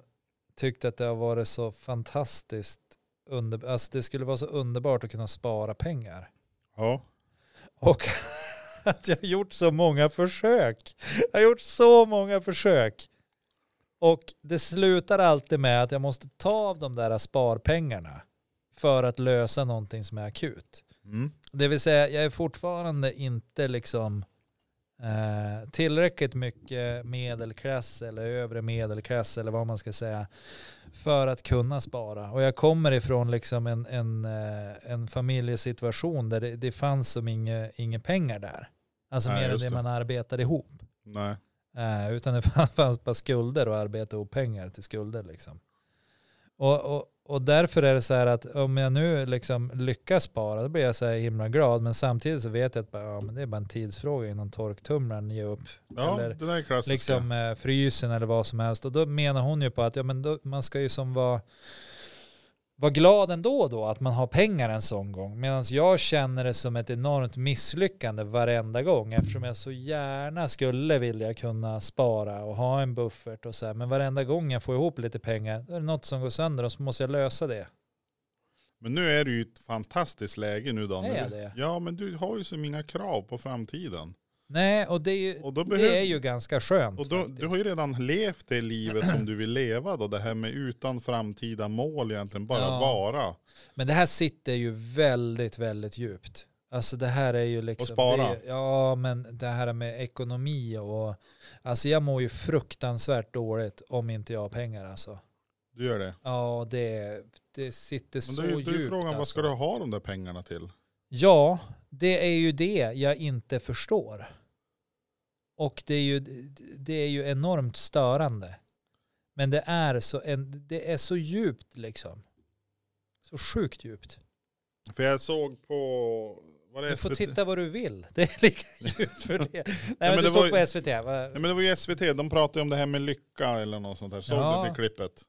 [SPEAKER 2] tyckt att det har varit så fantastiskt under, alltså det skulle vara så underbart att kunna spara pengar.
[SPEAKER 1] Ja.
[SPEAKER 2] Och <laughs> att jag har gjort så många försök. Jag har gjort så många försök. Och det slutar alltid med att jag måste ta av de där sparpengarna för att lösa någonting som är akut.
[SPEAKER 1] Mm.
[SPEAKER 2] Det vill säga, jag är fortfarande inte liksom eh, tillräckligt mycket medelklass eller övre medelklass eller vad man ska säga för att kunna spara. Och jag kommer ifrån liksom en, en, eh, en familjesituation där det, det fanns som inga, inga pengar där. Alltså
[SPEAKER 1] Nej,
[SPEAKER 2] mer än
[SPEAKER 1] just
[SPEAKER 2] det
[SPEAKER 1] det.
[SPEAKER 2] man arbetade ihop.
[SPEAKER 1] Nej.
[SPEAKER 2] Eh, utan det <laughs> fanns, fanns bara skulder och arbete och pengar till skulder. Liksom. Och, och, och därför är det så här att om jag nu liksom lyckas spara då blir jag så här himla glad. Men samtidigt så vet jag att bara, ja, men det är bara en tidsfråga innan torktumlaren ger upp.
[SPEAKER 1] Ja,
[SPEAKER 2] Eller
[SPEAKER 1] det där är klassiska.
[SPEAKER 2] Liksom eh, frysen eller vad som helst. Och då menar hon ju på att ja, men då, man ska ju som vara var glad ändå då att man har pengar en sån gång. Medan jag känner det som ett enormt misslyckande varenda gång eftersom jag så gärna skulle vilja kunna spara och ha en buffert och så här. Men varenda gång jag får ihop lite pengar då är det något som går sönder och så måste jag lösa det.
[SPEAKER 1] Men nu är det ju ett fantastiskt läge nu Daniel.
[SPEAKER 2] Är det?
[SPEAKER 1] Ja men du har ju så många krav på framtiden.
[SPEAKER 2] Nej, och det är ju,
[SPEAKER 1] Och då behöver,
[SPEAKER 2] det är ju ganska skönt
[SPEAKER 1] och då,
[SPEAKER 2] faktiskt.
[SPEAKER 1] du har ju redan levt det livet som du vill leva då. Det här med utan framtida mål egentligen, bara
[SPEAKER 2] Ja.
[SPEAKER 1] vara.
[SPEAKER 2] Men det här sitter ju väldigt, väldigt djupt. Alltså det här är ju liksom...
[SPEAKER 1] Och spara.
[SPEAKER 2] Det, ja, men det här med ekonomi och... Alltså jag mår ju fruktansvärt dåligt om inte jag har pengar alltså.
[SPEAKER 1] Du gör det.
[SPEAKER 2] Ja, det, det sitter
[SPEAKER 1] Men
[SPEAKER 2] så
[SPEAKER 1] då är ju
[SPEAKER 2] djupt.
[SPEAKER 1] då är ju frågan,
[SPEAKER 2] alltså.
[SPEAKER 1] vad ska du ha de där pengarna till?
[SPEAKER 2] Ja, det är ju det jag inte förstår. Och det är ju, det är ju enormt störande. Men det är, så en, det är så djupt liksom. Så sjukt djupt.
[SPEAKER 1] För jag såg på, var det
[SPEAKER 2] Du får
[SPEAKER 1] SVT?
[SPEAKER 2] titta <laughs> vad du vill. Det är lika djupt för det. Nej, men,
[SPEAKER 1] men
[SPEAKER 2] du
[SPEAKER 1] det
[SPEAKER 2] såg
[SPEAKER 1] var ju-
[SPEAKER 2] på SVT. Va?
[SPEAKER 1] Nej men det var ju SVT, de pratade ju om det här med lycka eller något sånt där. Såg
[SPEAKER 2] Ja.
[SPEAKER 1] du det klippet?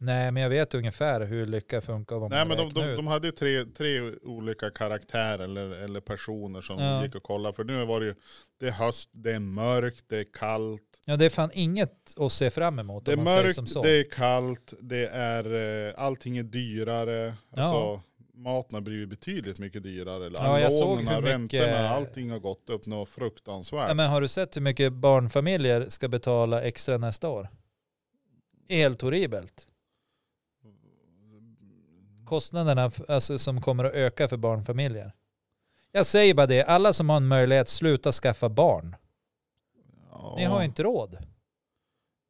[SPEAKER 2] Nej, men jag vet ungefär hur lycka funkar och vad
[SPEAKER 1] Nej
[SPEAKER 2] man
[SPEAKER 1] men de,
[SPEAKER 2] räknar
[SPEAKER 1] de,
[SPEAKER 2] ut.
[SPEAKER 1] de hade ju tre, tre olika karaktärer eller, eller personer som
[SPEAKER 2] Ja.
[SPEAKER 1] gick och kollade. För nu var det ju, det är höst, det är mörkt, det är kallt.
[SPEAKER 2] Ja, det är fan inget att se fram emot
[SPEAKER 1] Det
[SPEAKER 2] om
[SPEAKER 1] är
[SPEAKER 2] man säger som
[SPEAKER 1] mörkt,
[SPEAKER 2] så.
[SPEAKER 1] det är kallt, det är, eh, allting är dyrare.
[SPEAKER 2] Ja.
[SPEAKER 1] Alltså, maten har blivit betydligt mycket dyrare. Eller
[SPEAKER 2] Ja, jag såg
[SPEAKER 1] lånen,
[SPEAKER 2] hur mycket-
[SPEAKER 1] räntorna, allting har gått upp något fruktansvärt.
[SPEAKER 2] Ja, men har du sett hur mycket barnfamiljer ska betala extra nästa år? Det är Helt horribelt. Kostnaderna f- alltså, som kommer att öka för barnfamiljer. Jag säger bara det, alla som har en möjlighet, sluta skaffa barn.
[SPEAKER 1] Ja.
[SPEAKER 2] Ni har ju inte råd.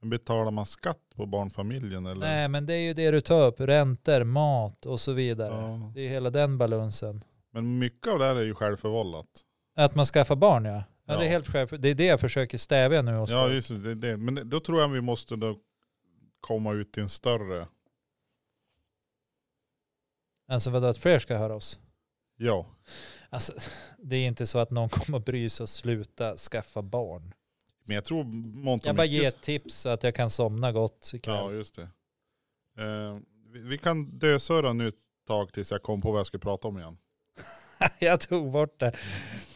[SPEAKER 1] Men Betalar man skatt på barnfamiljen eller?
[SPEAKER 2] Nej, men det är ju det du tar upp. Räntor, mat och så vidare.
[SPEAKER 1] Ja.
[SPEAKER 2] Det är hela den balansen.
[SPEAKER 1] Men mycket av det här är ju självförvållat.
[SPEAKER 2] Att man skaffar barn ja. Ja,
[SPEAKER 1] Ja.
[SPEAKER 2] det är helt själv. Det är det jag försöker stävja nu också.
[SPEAKER 1] Ja, just det, det. Men det- då tror jag vi måste då komma ut till en större,
[SPEAKER 2] Alltså vadå att fler ska höra oss?
[SPEAKER 1] ja.
[SPEAKER 2] <laughs> Alltså, det är inte så att någon kommer att bry sig och sluta skaffa barn.
[SPEAKER 1] Men jag tror Montomicus...
[SPEAKER 2] Jag bara ger ett tips så att jag kan somna gott ikväll.
[SPEAKER 1] Ja, just det. Eh, vi, vi kan dösöra nu ett tag tills jag kom på vad jag ska prata om igen.
[SPEAKER 2] <laughs> jag tog bort det.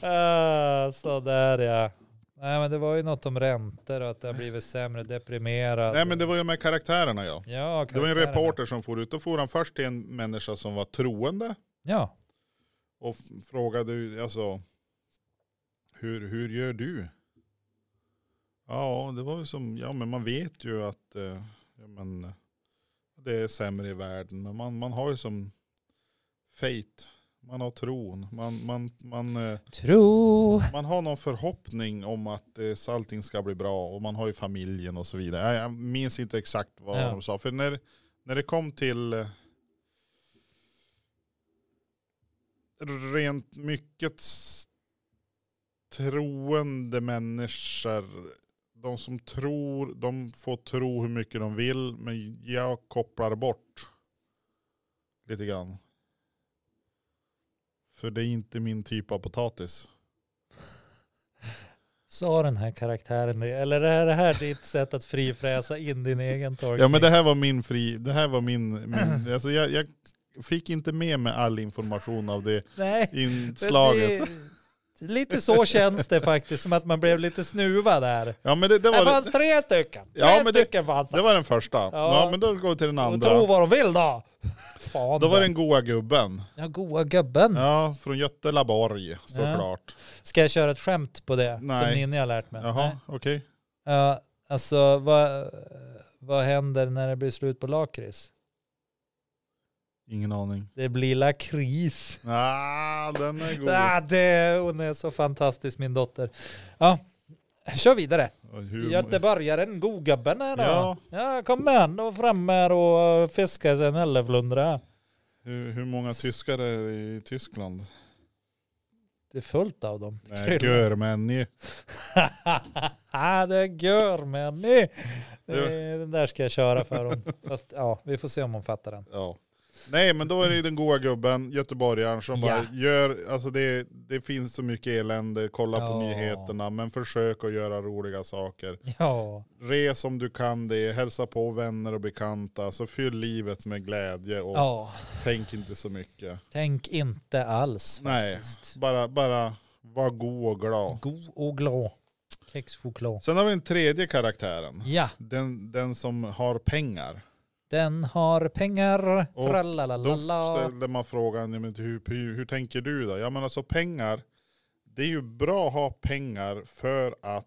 [SPEAKER 2] Ah, sådär ja. Nej men det var ju något om räntor och att det har blivit sämre, deprimerad.
[SPEAKER 1] Nej men det var ju med karaktärerna ja.
[SPEAKER 2] Ja,
[SPEAKER 1] Det var en
[SPEAKER 2] karaktärerna.
[SPEAKER 1] reporter som for ut. Då for han först till en människa som var troende
[SPEAKER 2] Ja,
[SPEAKER 1] och f- frågade ju, alltså hur, hur gör du? Ja, det var ju som, ja men man vet ju att eh, ja, men, det är sämre i världen. Men man, man har ju som fate, man har tron, man, man, man eh,
[SPEAKER 2] tro.
[SPEAKER 1] man har någon förhoppning om att eh, så allting ska bli bra och man har ju familjen och så vidare. Jag, jag minns inte exakt vad
[SPEAKER 2] Ja.
[SPEAKER 1] de sa. För när, när det kom till eh, rent mycket s- troende människor. De som tror, de får tro hur mycket de vill. Men jag kopplar bort lite grann. För det är inte min typ av potatis.
[SPEAKER 2] Sa den här karaktären det? Eller är det här ditt sätt att frifräsa in din egen tolkning?
[SPEAKER 1] Ja men det här var min fri, det här var min, min <clears throat> alltså jag, jag fick inte med mig all information av <laughs> det
[SPEAKER 2] Nej. men
[SPEAKER 1] inslaget.
[SPEAKER 2] Det, lite så känns det faktiskt, som att man blev lite snuvad där.
[SPEAKER 1] Ja men det, det,
[SPEAKER 2] Det
[SPEAKER 1] var,
[SPEAKER 2] fanns tre stycken. Tre
[SPEAKER 1] Ja, men det-
[SPEAKER 2] stycken fanns det.
[SPEAKER 1] det var den första. Ja. men då går vi till den
[SPEAKER 2] Och
[SPEAKER 1] andra.
[SPEAKER 2] tro vad de vill då. Fan
[SPEAKER 1] Då var den Mm. goa gubben.
[SPEAKER 2] Ja, goa gubben.
[SPEAKER 1] Ja, från Götelaborg såklart.
[SPEAKER 2] Ska jag köra ett skämt på det? Som
[SPEAKER 1] Nej.
[SPEAKER 2] Ninni har lärt mig. Nej.
[SPEAKER 1] Jaha, okej.
[SPEAKER 2] Ja, alltså vad, vad händer när det blir slut på lakrits?
[SPEAKER 1] Ingen aning.
[SPEAKER 2] Det blir lakris.
[SPEAKER 1] Ah, den är god.
[SPEAKER 2] Ah, det, hon är så fantastisk min dotter. Ja, kör vidare.
[SPEAKER 1] Hur,
[SPEAKER 2] Göteborgaren, godgubben här då. Ja.
[SPEAKER 1] Ja.
[SPEAKER 2] kom igen och fram här och eh, fiska sig en älvlundra.
[SPEAKER 1] hur, hur många tyskar är det i Tyskland?
[SPEAKER 2] Det är fullt av dem. <laughs>
[SPEAKER 1] Nej, görmänniskor.
[SPEAKER 2] ah, det gör men ni. Det- Den där ska jag köra för dem. Fast ja, vi får se om hon fattar den.
[SPEAKER 1] Ja. Nej men då är det ju den goa gubben, göteborgaren som bara
[SPEAKER 2] Ja.
[SPEAKER 1] gör, alltså det, det finns så mycket elände, kolla
[SPEAKER 2] Ja.
[SPEAKER 1] på nyheterna men försök att göra roliga saker.
[SPEAKER 2] Ja,
[SPEAKER 1] Res om du kan det, hälsa på vänner och bekanta, så fyll livet med glädje och
[SPEAKER 2] ja.
[SPEAKER 1] tänk inte så mycket.
[SPEAKER 2] tänk inte alls.
[SPEAKER 1] Nej,
[SPEAKER 2] faktiskt.
[SPEAKER 1] bara, bara var god och glad.
[SPEAKER 2] God och glad. Kexchoklad.
[SPEAKER 1] Sen har vi den tredje karaktären,
[SPEAKER 2] Ja,
[SPEAKER 1] den, den som har pengar.
[SPEAKER 2] den har pengar.
[SPEAKER 1] Och Då
[SPEAKER 2] Tralalalala.
[SPEAKER 1] ställde man frågan, ja, men hur, hur, hur tänker du då? Ja men alltså pengar, det är ju bra att ha pengar för att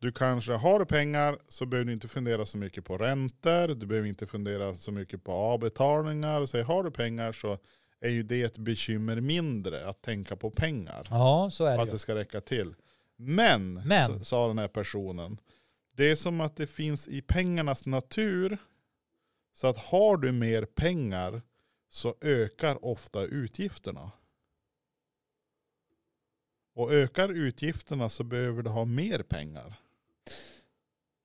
[SPEAKER 1] du kanske har pengar så behöver du inte fundera så mycket på räntor, du behöver inte fundera så mycket på avbetalningar. Så har du pengar så är ju det ett bekymmer mindre att tänka på pengar.
[SPEAKER 2] Ja, så är
[SPEAKER 1] För
[SPEAKER 2] det
[SPEAKER 1] att
[SPEAKER 2] ju.
[SPEAKER 1] det ska räcka till. Men,
[SPEAKER 2] Men.
[SPEAKER 1] s- sa den här personen, det är som att det finns i pengarnas natur. Så att har du mer pengar så ökar ofta utgifterna. Och ökar utgifterna så behöver du ha mer pengar.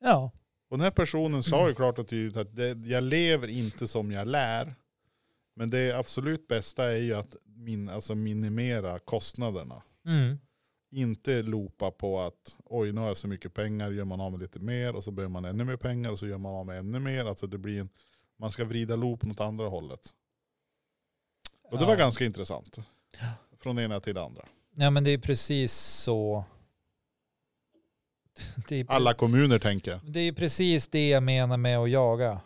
[SPEAKER 2] Ja,
[SPEAKER 1] Och den här personen sa ju klart och tydligt att det, jag lever inte som jag lär. Men det absolut bästa är ju att min, alltså minimera kostnaderna
[SPEAKER 2] mm.
[SPEAKER 1] inte loopa på att oj nu har jag så mycket pengar, gör man av med lite mer och så behöver man ännu mer pengar och så gör man av med ännu mer. Alltså det blir en, man ska vrida loop åt andra hållet. Och det
[SPEAKER 2] Ja.
[SPEAKER 1] var ganska
[SPEAKER 2] <gasps>
[SPEAKER 1] intressant. Från det ena till det andra.
[SPEAKER 2] ja, men det är precis så. <laughs> Det är,
[SPEAKER 1] Alla kommuner tänker.
[SPEAKER 2] det är precis det jag menar med att jaga.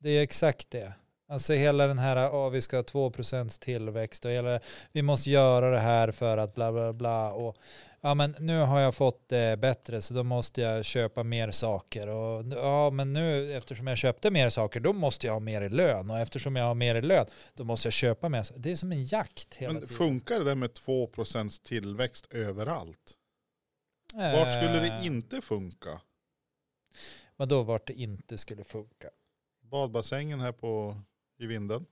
[SPEAKER 2] Det är exakt det. Alltså hela den här, ja vi ska ha 2% tillväxt och hela, vi måste göra det här för att bla bla bla och ja men nu har jag fått det bättre så då måste jag köpa mer saker och ja men nu eftersom jag köpte mer saker då måste jag ha mer i lön och eftersom jag har mer i lön då måste jag köpa mer. Det är som en jakt hela
[SPEAKER 1] Men
[SPEAKER 2] tiden.
[SPEAKER 1] funkar det där med 2% tillväxt överallt? Vart skulle det
[SPEAKER 2] Eh,
[SPEAKER 1] inte funka?
[SPEAKER 2] Vadå vart det inte skulle funka?
[SPEAKER 1] Badbassängen här på, i vinden.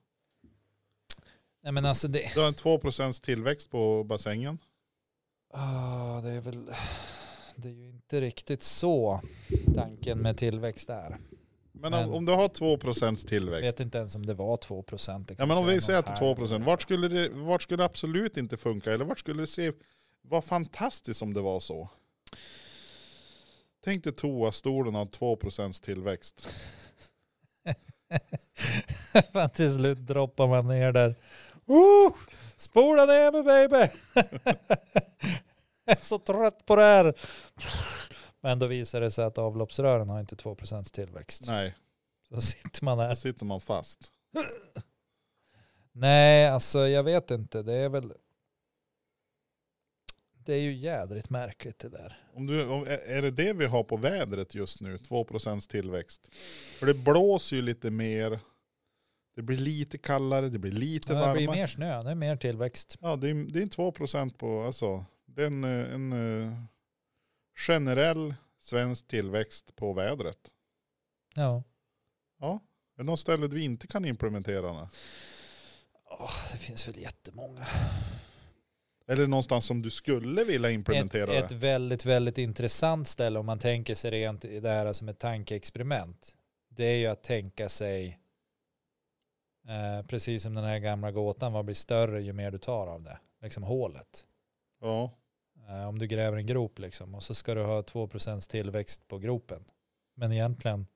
[SPEAKER 2] Nej men alltså det...
[SPEAKER 1] Du har en 2% tillväxt på bassängen.
[SPEAKER 2] Ah, det är väl... Det är ju inte riktigt så tanken med tillväxt är.
[SPEAKER 1] Men,
[SPEAKER 2] Men-
[SPEAKER 1] Om, om du har 2% tillväxt.
[SPEAKER 2] Jag vet inte ens om det var 2 procent.
[SPEAKER 1] Ja men om vi säger att det är 2 procent, vart skulle det vart skulle det absolut inte funka? Eller vart skulle det se, vad fantastiskt om det var så? Tänk dig toastolen har 2% tillväxt.
[SPEAKER 2] <laughs> Fan, till slut droppar man ner där. Oh, spola ner mig baby! <laughs> Jag är så trött på det här. Men då visar det sig att avloppsrören har inte 2% tillväxt.
[SPEAKER 1] Nej,
[SPEAKER 2] Så sitter man
[SPEAKER 1] då
[SPEAKER 2] där.
[SPEAKER 1] sitter man fast.
[SPEAKER 2] Nej, alltså jag vet inte. Det är väl... Det är ju jädrigt märkligt det där.
[SPEAKER 1] Om du, om, är- är det det vi har på vädret just nu? 2% tillväxt. För det blåser ju lite mer. Det blir lite kallare, det blir lite
[SPEAKER 2] Ja, Det blir
[SPEAKER 1] varmare.
[SPEAKER 2] mer snö, det är mer tillväxt.
[SPEAKER 1] Ja, det är, det är 2% på, alltså. Det är en, eh, en eh, generell svensk tillväxt på vädret.
[SPEAKER 2] Ja.
[SPEAKER 1] Är det något ställe vi inte kan implementera det?
[SPEAKER 2] Åh, det finns väl jättemånga.
[SPEAKER 1] Eller någonstans som du skulle vilja
[SPEAKER 2] Ett,
[SPEAKER 1] implementera
[SPEAKER 2] ett
[SPEAKER 1] det?
[SPEAKER 2] väldigt, väldigt intressant ställe om man tänker sig rent i det här som ett tankeexperiment. Det är ju att tänka sig, eh, precis som den här gamla gåtan, vad blir större ju mer du tar av det? Liksom hålet.
[SPEAKER 1] Ja.
[SPEAKER 2] Eh, om du gräver en grop liksom och så ska du ha 2% tillväxt på gropen. Men egentligen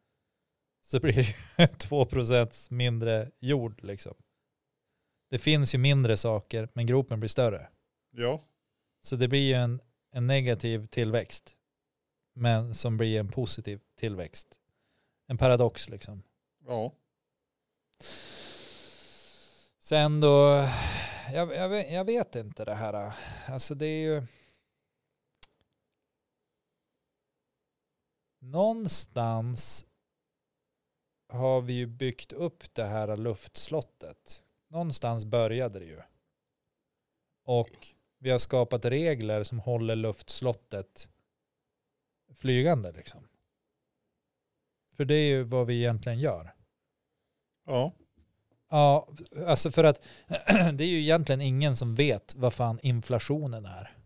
[SPEAKER 2] så blir det ju <laughs> 2% mindre jord liksom. Det finns ju mindre saker men gropen blir större.
[SPEAKER 1] Ja.
[SPEAKER 2] Så det blir ju en, en negativ tillväxt. Men som blir en positiv tillväxt. En paradox liksom.
[SPEAKER 1] Ja.
[SPEAKER 2] Sen då, jag, jag, vet- jag vet inte det här. Alltså det är ju... Någonstans har vi ju byggt upp det här luftslottet. Någonstans började det ju. Och vi har skapat regler som håller luftslottet flygande liksom. För det är ju vad vi egentligen gör.
[SPEAKER 1] Ja.
[SPEAKER 2] Ja, alltså för att <clears throat> det är ju egentligen ingen som vet vad fan inflationen är.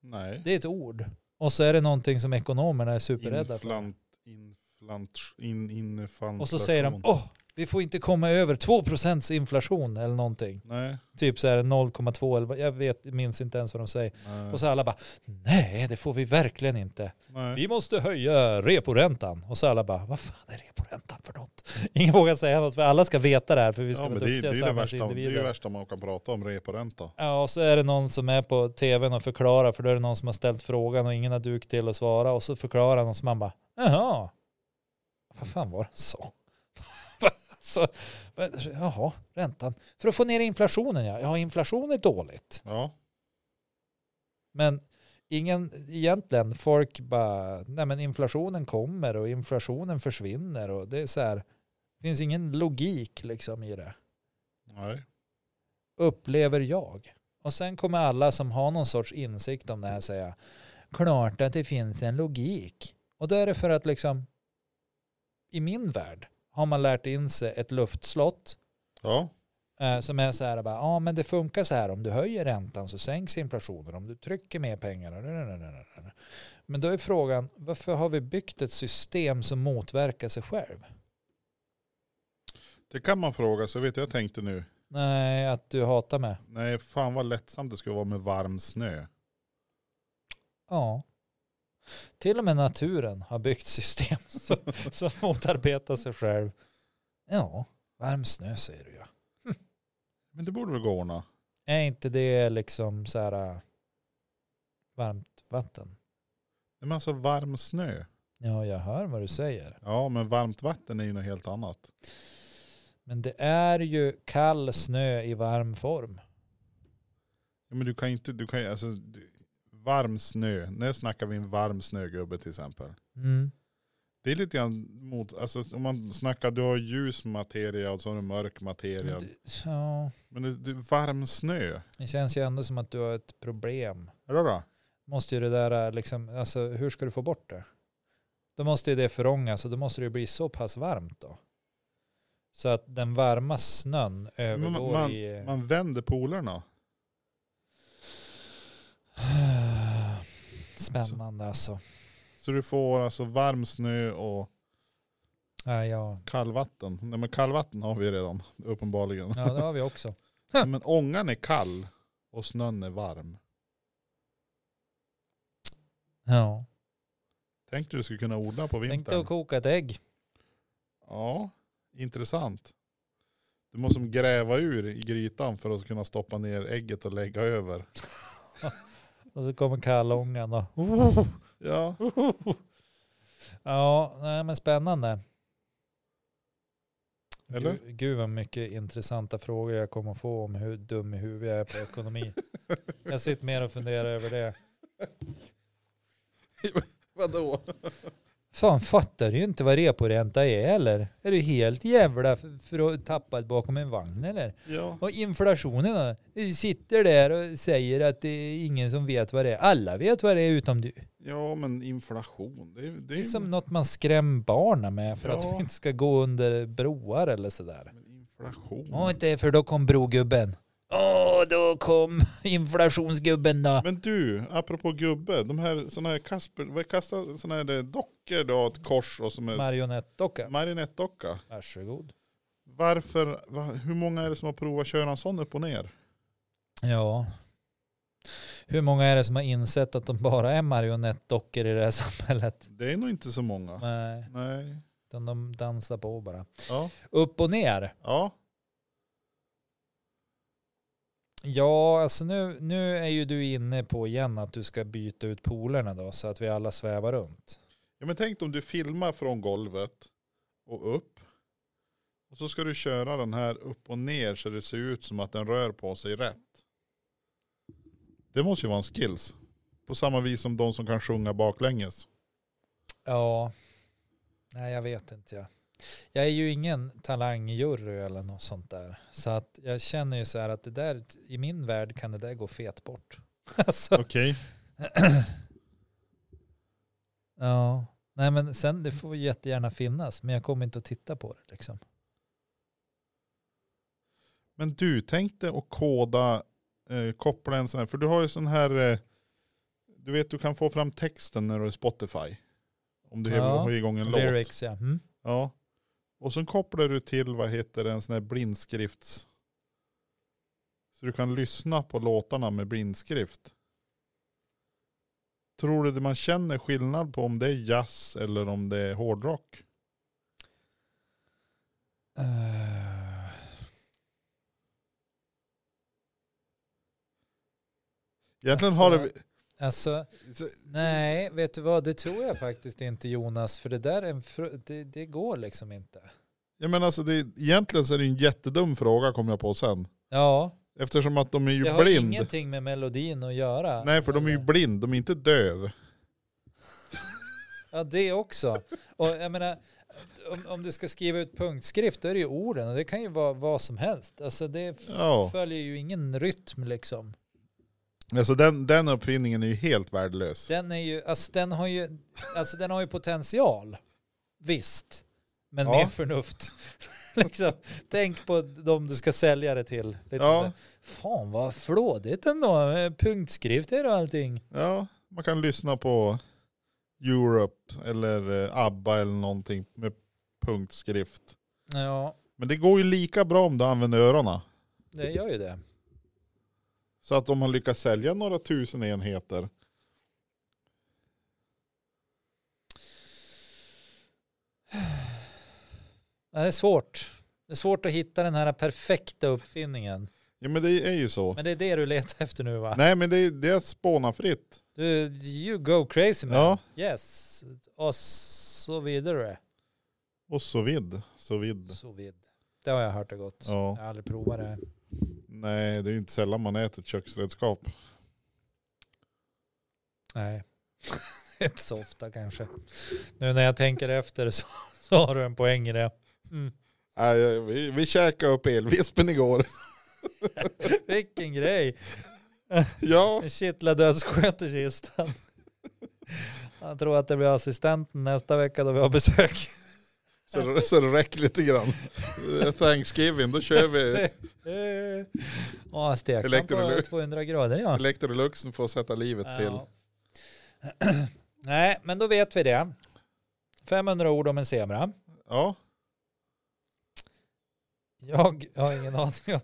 [SPEAKER 1] Nej.
[SPEAKER 2] Det är ett ord. Och så är det någonting som ekonomerna är superrädda för.
[SPEAKER 1] Inflant, inflant, in, infant,
[SPEAKER 2] Och så säger de, åh, vi får inte komma över 2% inflation eller någonting.
[SPEAKER 1] Nej.
[SPEAKER 2] Typ så här 0,2 eller vad- jag vet, minns inte ens vad de säger.
[SPEAKER 1] Nej.
[SPEAKER 2] Och så alla bara, nej det får vi verkligen inte.
[SPEAKER 1] nej.
[SPEAKER 2] Vi måste höja reporäntan. Och så alla bara, vad fan är reporäntan för något? <laughs> Ingen vågar säga något för alla ska veta det här för vi ska
[SPEAKER 1] Ja, men
[SPEAKER 2] vara
[SPEAKER 1] det, är- det,
[SPEAKER 2] duktiga
[SPEAKER 1] är det, värsta, det är
[SPEAKER 2] samhällsindivider.
[SPEAKER 1] det värsta man kan prata om, reporänta.
[SPEAKER 2] Ja, och så är det någon som är på tvn och förklarar, för då är det någon som har ställt frågan och ingen har duk till att svara. Och så förklarar någon som man bara, jaha, vad fan var det så? <laughs> så jaha, räntan. För att få ner inflationen ja. Ja, inflation är dåligt.
[SPEAKER 1] Ja.
[SPEAKER 2] Men ingen, egentligen, folk bara, nej men inflationen kommer och inflationen försvinner och det är så här, det finns ingen logik liksom i det
[SPEAKER 1] Nej.
[SPEAKER 2] upplever jag. Och sen kommer alla som har någon sorts insikt om det här säga, klart att det finns en logik. Och då är det för att liksom, i min värld har man lärt in sig ett luftslott
[SPEAKER 1] Ja.
[SPEAKER 2] eh, som är så här, bara, ja men det funkar så här, om du höjer räntan så sänks inflationen, om du trycker mer pengar. Men då är frågan, varför har vi byggt ett system som motverkar sig själv?
[SPEAKER 1] Det kan man fråga sig. Vet du, jag tänkte nu.
[SPEAKER 2] Nej, att du hatar mig.
[SPEAKER 1] Nej, fan vad lättsamt det skulle vara med varm snö.
[SPEAKER 2] Ja. Till och med naturen har byggt system <laughs> som, som motarbetar sig själv. Ja, varm snö säger du ja.
[SPEAKER 1] Men det borde väl gå att ordna.
[SPEAKER 2] Är inte det liksom så här äh, varmt vatten?
[SPEAKER 1] Nej, Men alltså varm snö.
[SPEAKER 2] Ja, jag hör vad du säger.
[SPEAKER 1] Ja, men varmt vatten är ju något helt annat.
[SPEAKER 2] Men det är ju kall snö i varm form.
[SPEAKER 1] Ja, Men du kan inte, du kan ju- alltså, du- varm snö. När snackar vi en varm snögubbe till exempel?
[SPEAKER 2] Mm.
[SPEAKER 1] Det är lite grann mot, alltså om man snackar, du har ljus materia och så har du mörk materia.
[SPEAKER 2] Men du- Ja,
[SPEAKER 1] Men det, det, varm snö,
[SPEAKER 2] det känns ju ändå som att du har ett problem.
[SPEAKER 1] eller då?
[SPEAKER 2] Måste ju det där äh, liksom, alltså hur ska du få bort det? Då måste ju det förångas och då måste det ju bli så pass varmt då. Så att den varma snön övergår
[SPEAKER 1] man-
[SPEAKER 2] i...
[SPEAKER 1] Man vänder polerna.
[SPEAKER 2] <sighs> Spännande alltså.
[SPEAKER 1] Så du får alltså varm snö och
[SPEAKER 2] Ja, ja.
[SPEAKER 1] kallvatten. Nej men kallvatten har vi ju redan, uppenbarligen.
[SPEAKER 2] ja, det har vi också.
[SPEAKER 1] <laughs> Men ångan är kall och snön är varm.
[SPEAKER 2] Ja.
[SPEAKER 1] Tänkte du skulle kunna odla på
[SPEAKER 2] Tänk dig
[SPEAKER 1] vintern.
[SPEAKER 2] att koka ett ägg.
[SPEAKER 1] Ja, intressant. Du måste som gräva ur i grytan för att kunna stoppa ner ägget och lägga över.
[SPEAKER 2] Och så kommer kalongan och...
[SPEAKER 1] Oh! Ja,
[SPEAKER 2] Ja, nej, men spännande.
[SPEAKER 1] Eller?
[SPEAKER 2] Gud, gud vad mycket intressanta frågor jag kommer att få om hur dum i huvudet jag är på ekonomi. jag sitter mer och funderar över det.
[SPEAKER 1] vadå?
[SPEAKER 2] Fan fattar du inte vad reporänta är eller? Är du helt jävla f- för tappad bakom en vagn eller?
[SPEAKER 1] Ja,
[SPEAKER 2] Och inflationen då? Du sitter där och säger att det är ingen som vet vad det är. Alla vet vad det är utom du.
[SPEAKER 1] ja men inflation. Det, är- det
[SPEAKER 2] Det är
[SPEAKER 1] är
[SPEAKER 2] som något man skrämmer barnen med för att
[SPEAKER 1] Ja.
[SPEAKER 2] vi inte ska gå under broar eller sådär.
[SPEAKER 1] men inflation.
[SPEAKER 2] Åh, inte för då kom brogubben. Åh, då kom <laughs> inflationsgubben då.
[SPEAKER 1] Men du, apropå gubbe, de här sådana här Kasper, vad är kasta, såna här eh, dockor du har ett kors och som är
[SPEAKER 2] Marionettdocka.
[SPEAKER 1] marionettdocka.
[SPEAKER 2] Varsågod.
[SPEAKER 1] Varför, va, hur många är det som har provat att köra en sån upp och ner?
[SPEAKER 2] Ja. Hur många är det som har insett att de bara är marionettdockor i det här <laughs> samhället?
[SPEAKER 1] Det är nog inte så många.
[SPEAKER 2] Nej,
[SPEAKER 1] Nej.
[SPEAKER 2] utan de dansar på bara.
[SPEAKER 1] Ja.
[SPEAKER 2] Upp och ner.
[SPEAKER 1] ja.
[SPEAKER 2] Ja, alltså nu, nu är ju du inne på igen att du ska byta ut polerna då så att vi alla svävar runt.
[SPEAKER 1] Ja men tänk om du filmar från golvet och upp. Och så ska du köra den här upp och ner så det ser ut som att den rör på sig rätt. Det måste ju vara en skills. På samma vis som de som kan sjunga baklänges.
[SPEAKER 2] Ja, nej jag vet inte jag. Jag är ju ingen talangjury eller något sånt där. Så att jag känner ju så här att det där, i min värld kan det där gå fet bort. <laughs> alltså,
[SPEAKER 1] Okej.
[SPEAKER 2] Ja, nej men sen det får jättegärna finnas, men jag kommer inte att titta på det liksom.
[SPEAKER 1] Men du tänkte att koda, eh, koppla en sån här, för du har ju sån här, eh, du vet du kan få fram texten när du är Spotify. Om du
[SPEAKER 2] Ja.
[SPEAKER 1] har igång en låt.
[SPEAKER 2] Lyrics ja. Mm.
[SPEAKER 1] Ja. Och sen kopplar du till, vad heter det, en sån här blindskrifts... Så du kan lyssna på låtarna med blindskrift. Tror du det man känner skillnad på om det är jazz eller om det är hårdrock?
[SPEAKER 2] Eh,
[SPEAKER 1] Egentligen
[SPEAKER 2] Alltså-
[SPEAKER 1] har det...
[SPEAKER 2] alltså, nej, vet du vad, det tror jag faktiskt inte Jonas, för det där är en fr- det, det går liksom inte.
[SPEAKER 1] Jag menar alltså, det, egentligen så är det en jättedum fråga kommer jag på sen.
[SPEAKER 2] Ja,
[SPEAKER 1] Eftersom att de är ju
[SPEAKER 2] det har
[SPEAKER 1] blind.
[SPEAKER 2] ingenting med melodin att göra.
[SPEAKER 1] Nej, för de är ju blind, de är inte döv.
[SPEAKER 2] Ja, det också. Och jag menar, om, om du ska skriva ut punktskrift, då är det ju orden, och det kan ju vara vad som helst. Alltså det f-
[SPEAKER 1] Ja.
[SPEAKER 2] följer ju ingen rytm liksom.
[SPEAKER 1] Alltså den, den uppfinningen är ju helt värdelös.
[SPEAKER 2] Den är ju, alltså den har ju, alltså den har ju potential. Visst. Men
[SPEAKER 1] Ja.
[SPEAKER 2] mer förnuft. <laughs> liksom, tänk på de du ska sälja det till. Lite
[SPEAKER 1] Ja.
[SPEAKER 2] så här, Fan vad flådigt ändå. eh, Punktskrifter och allting.
[SPEAKER 1] Ja, man kan lyssna på Europe eller eh, ABBA eller någonting med punktskrift.
[SPEAKER 2] Ja,
[SPEAKER 1] Men det går ju lika bra om du använder öronen.
[SPEAKER 2] det gör ju det.
[SPEAKER 1] Så att om man lyckas sälja några tusen enheter.
[SPEAKER 2] Ja, Det är svårt. Det är svårt att hitta den här perfekta uppfinningen.
[SPEAKER 1] Ja men det är ju så.
[SPEAKER 2] Men det är det du letar efter nu va?
[SPEAKER 1] Nej men det, är- det är spåna fritt.
[SPEAKER 2] Du, you go crazy man.
[SPEAKER 1] Ja,
[SPEAKER 2] Yes. Och så vidare.
[SPEAKER 1] och så vid. Så vid.
[SPEAKER 2] Så vid. Det har jag hört det gott. Jag
[SPEAKER 1] Ja.
[SPEAKER 2] har aldrig provat det.
[SPEAKER 1] Nej det är ju inte sällan man äter ett köksredskap.
[SPEAKER 2] Nej, <laughs> inte så ofta kanske. Nu när jag tänker efter så, <laughs> så har du en poäng i det. <laughs> Mm.
[SPEAKER 1] Nej, vi, vi käkade upp elvispen
[SPEAKER 2] <laughs>
[SPEAKER 1] igår.
[SPEAKER 2] Vilken grej.
[SPEAKER 1] ja.
[SPEAKER 2] En kittlar dödssköterskistan. <laughs> Jag tror att det blir assistenten nästa vecka då vi har besök.
[SPEAKER 1] Så, det- så det räcker lite
[SPEAKER 2] <laughs>
[SPEAKER 1] grann. Eh, Thanksgiving, då kör vi
[SPEAKER 2] Eh. Ja, stekan på
[SPEAKER 1] Elektrolux.
[SPEAKER 2] 200 grader <laughs> ja.
[SPEAKER 1] Electrolux får sätta livet till.
[SPEAKER 2] ja. <clears throat> Nej, men då vet vi det. 500 ord om en zebra.
[SPEAKER 1] Ja,
[SPEAKER 2] Jag har ingen <laughs> aning om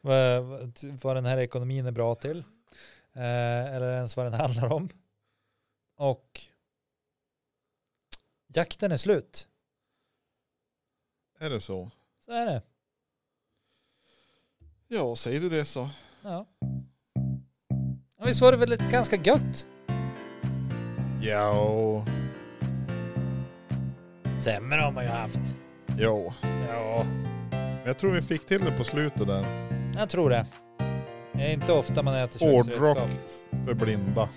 [SPEAKER 2] vad, vad- vad den här ekonomin är bra till. Eh, eller ens vad den handlar om. Och Jakten är slut.
[SPEAKER 1] Är det så?
[SPEAKER 2] Så är det.
[SPEAKER 1] Ja, säger du det så.
[SPEAKER 2] Ja. Ja, Visst var det väl ett ganska gött?
[SPEAKER 1] Ja, och-
[SPEAKER 2] Sämre har man ju haft.
[SPEAKER 1] ja.
[SPEAKER 2] Ja,
[SPEAKER 1] Men jag tror vi fick till det på slutet där.
[SPEAKER 2] jag tror det. Det är inte ofta man äter köksredskap.
[SPEAKER 1] Hårdrock för blinda.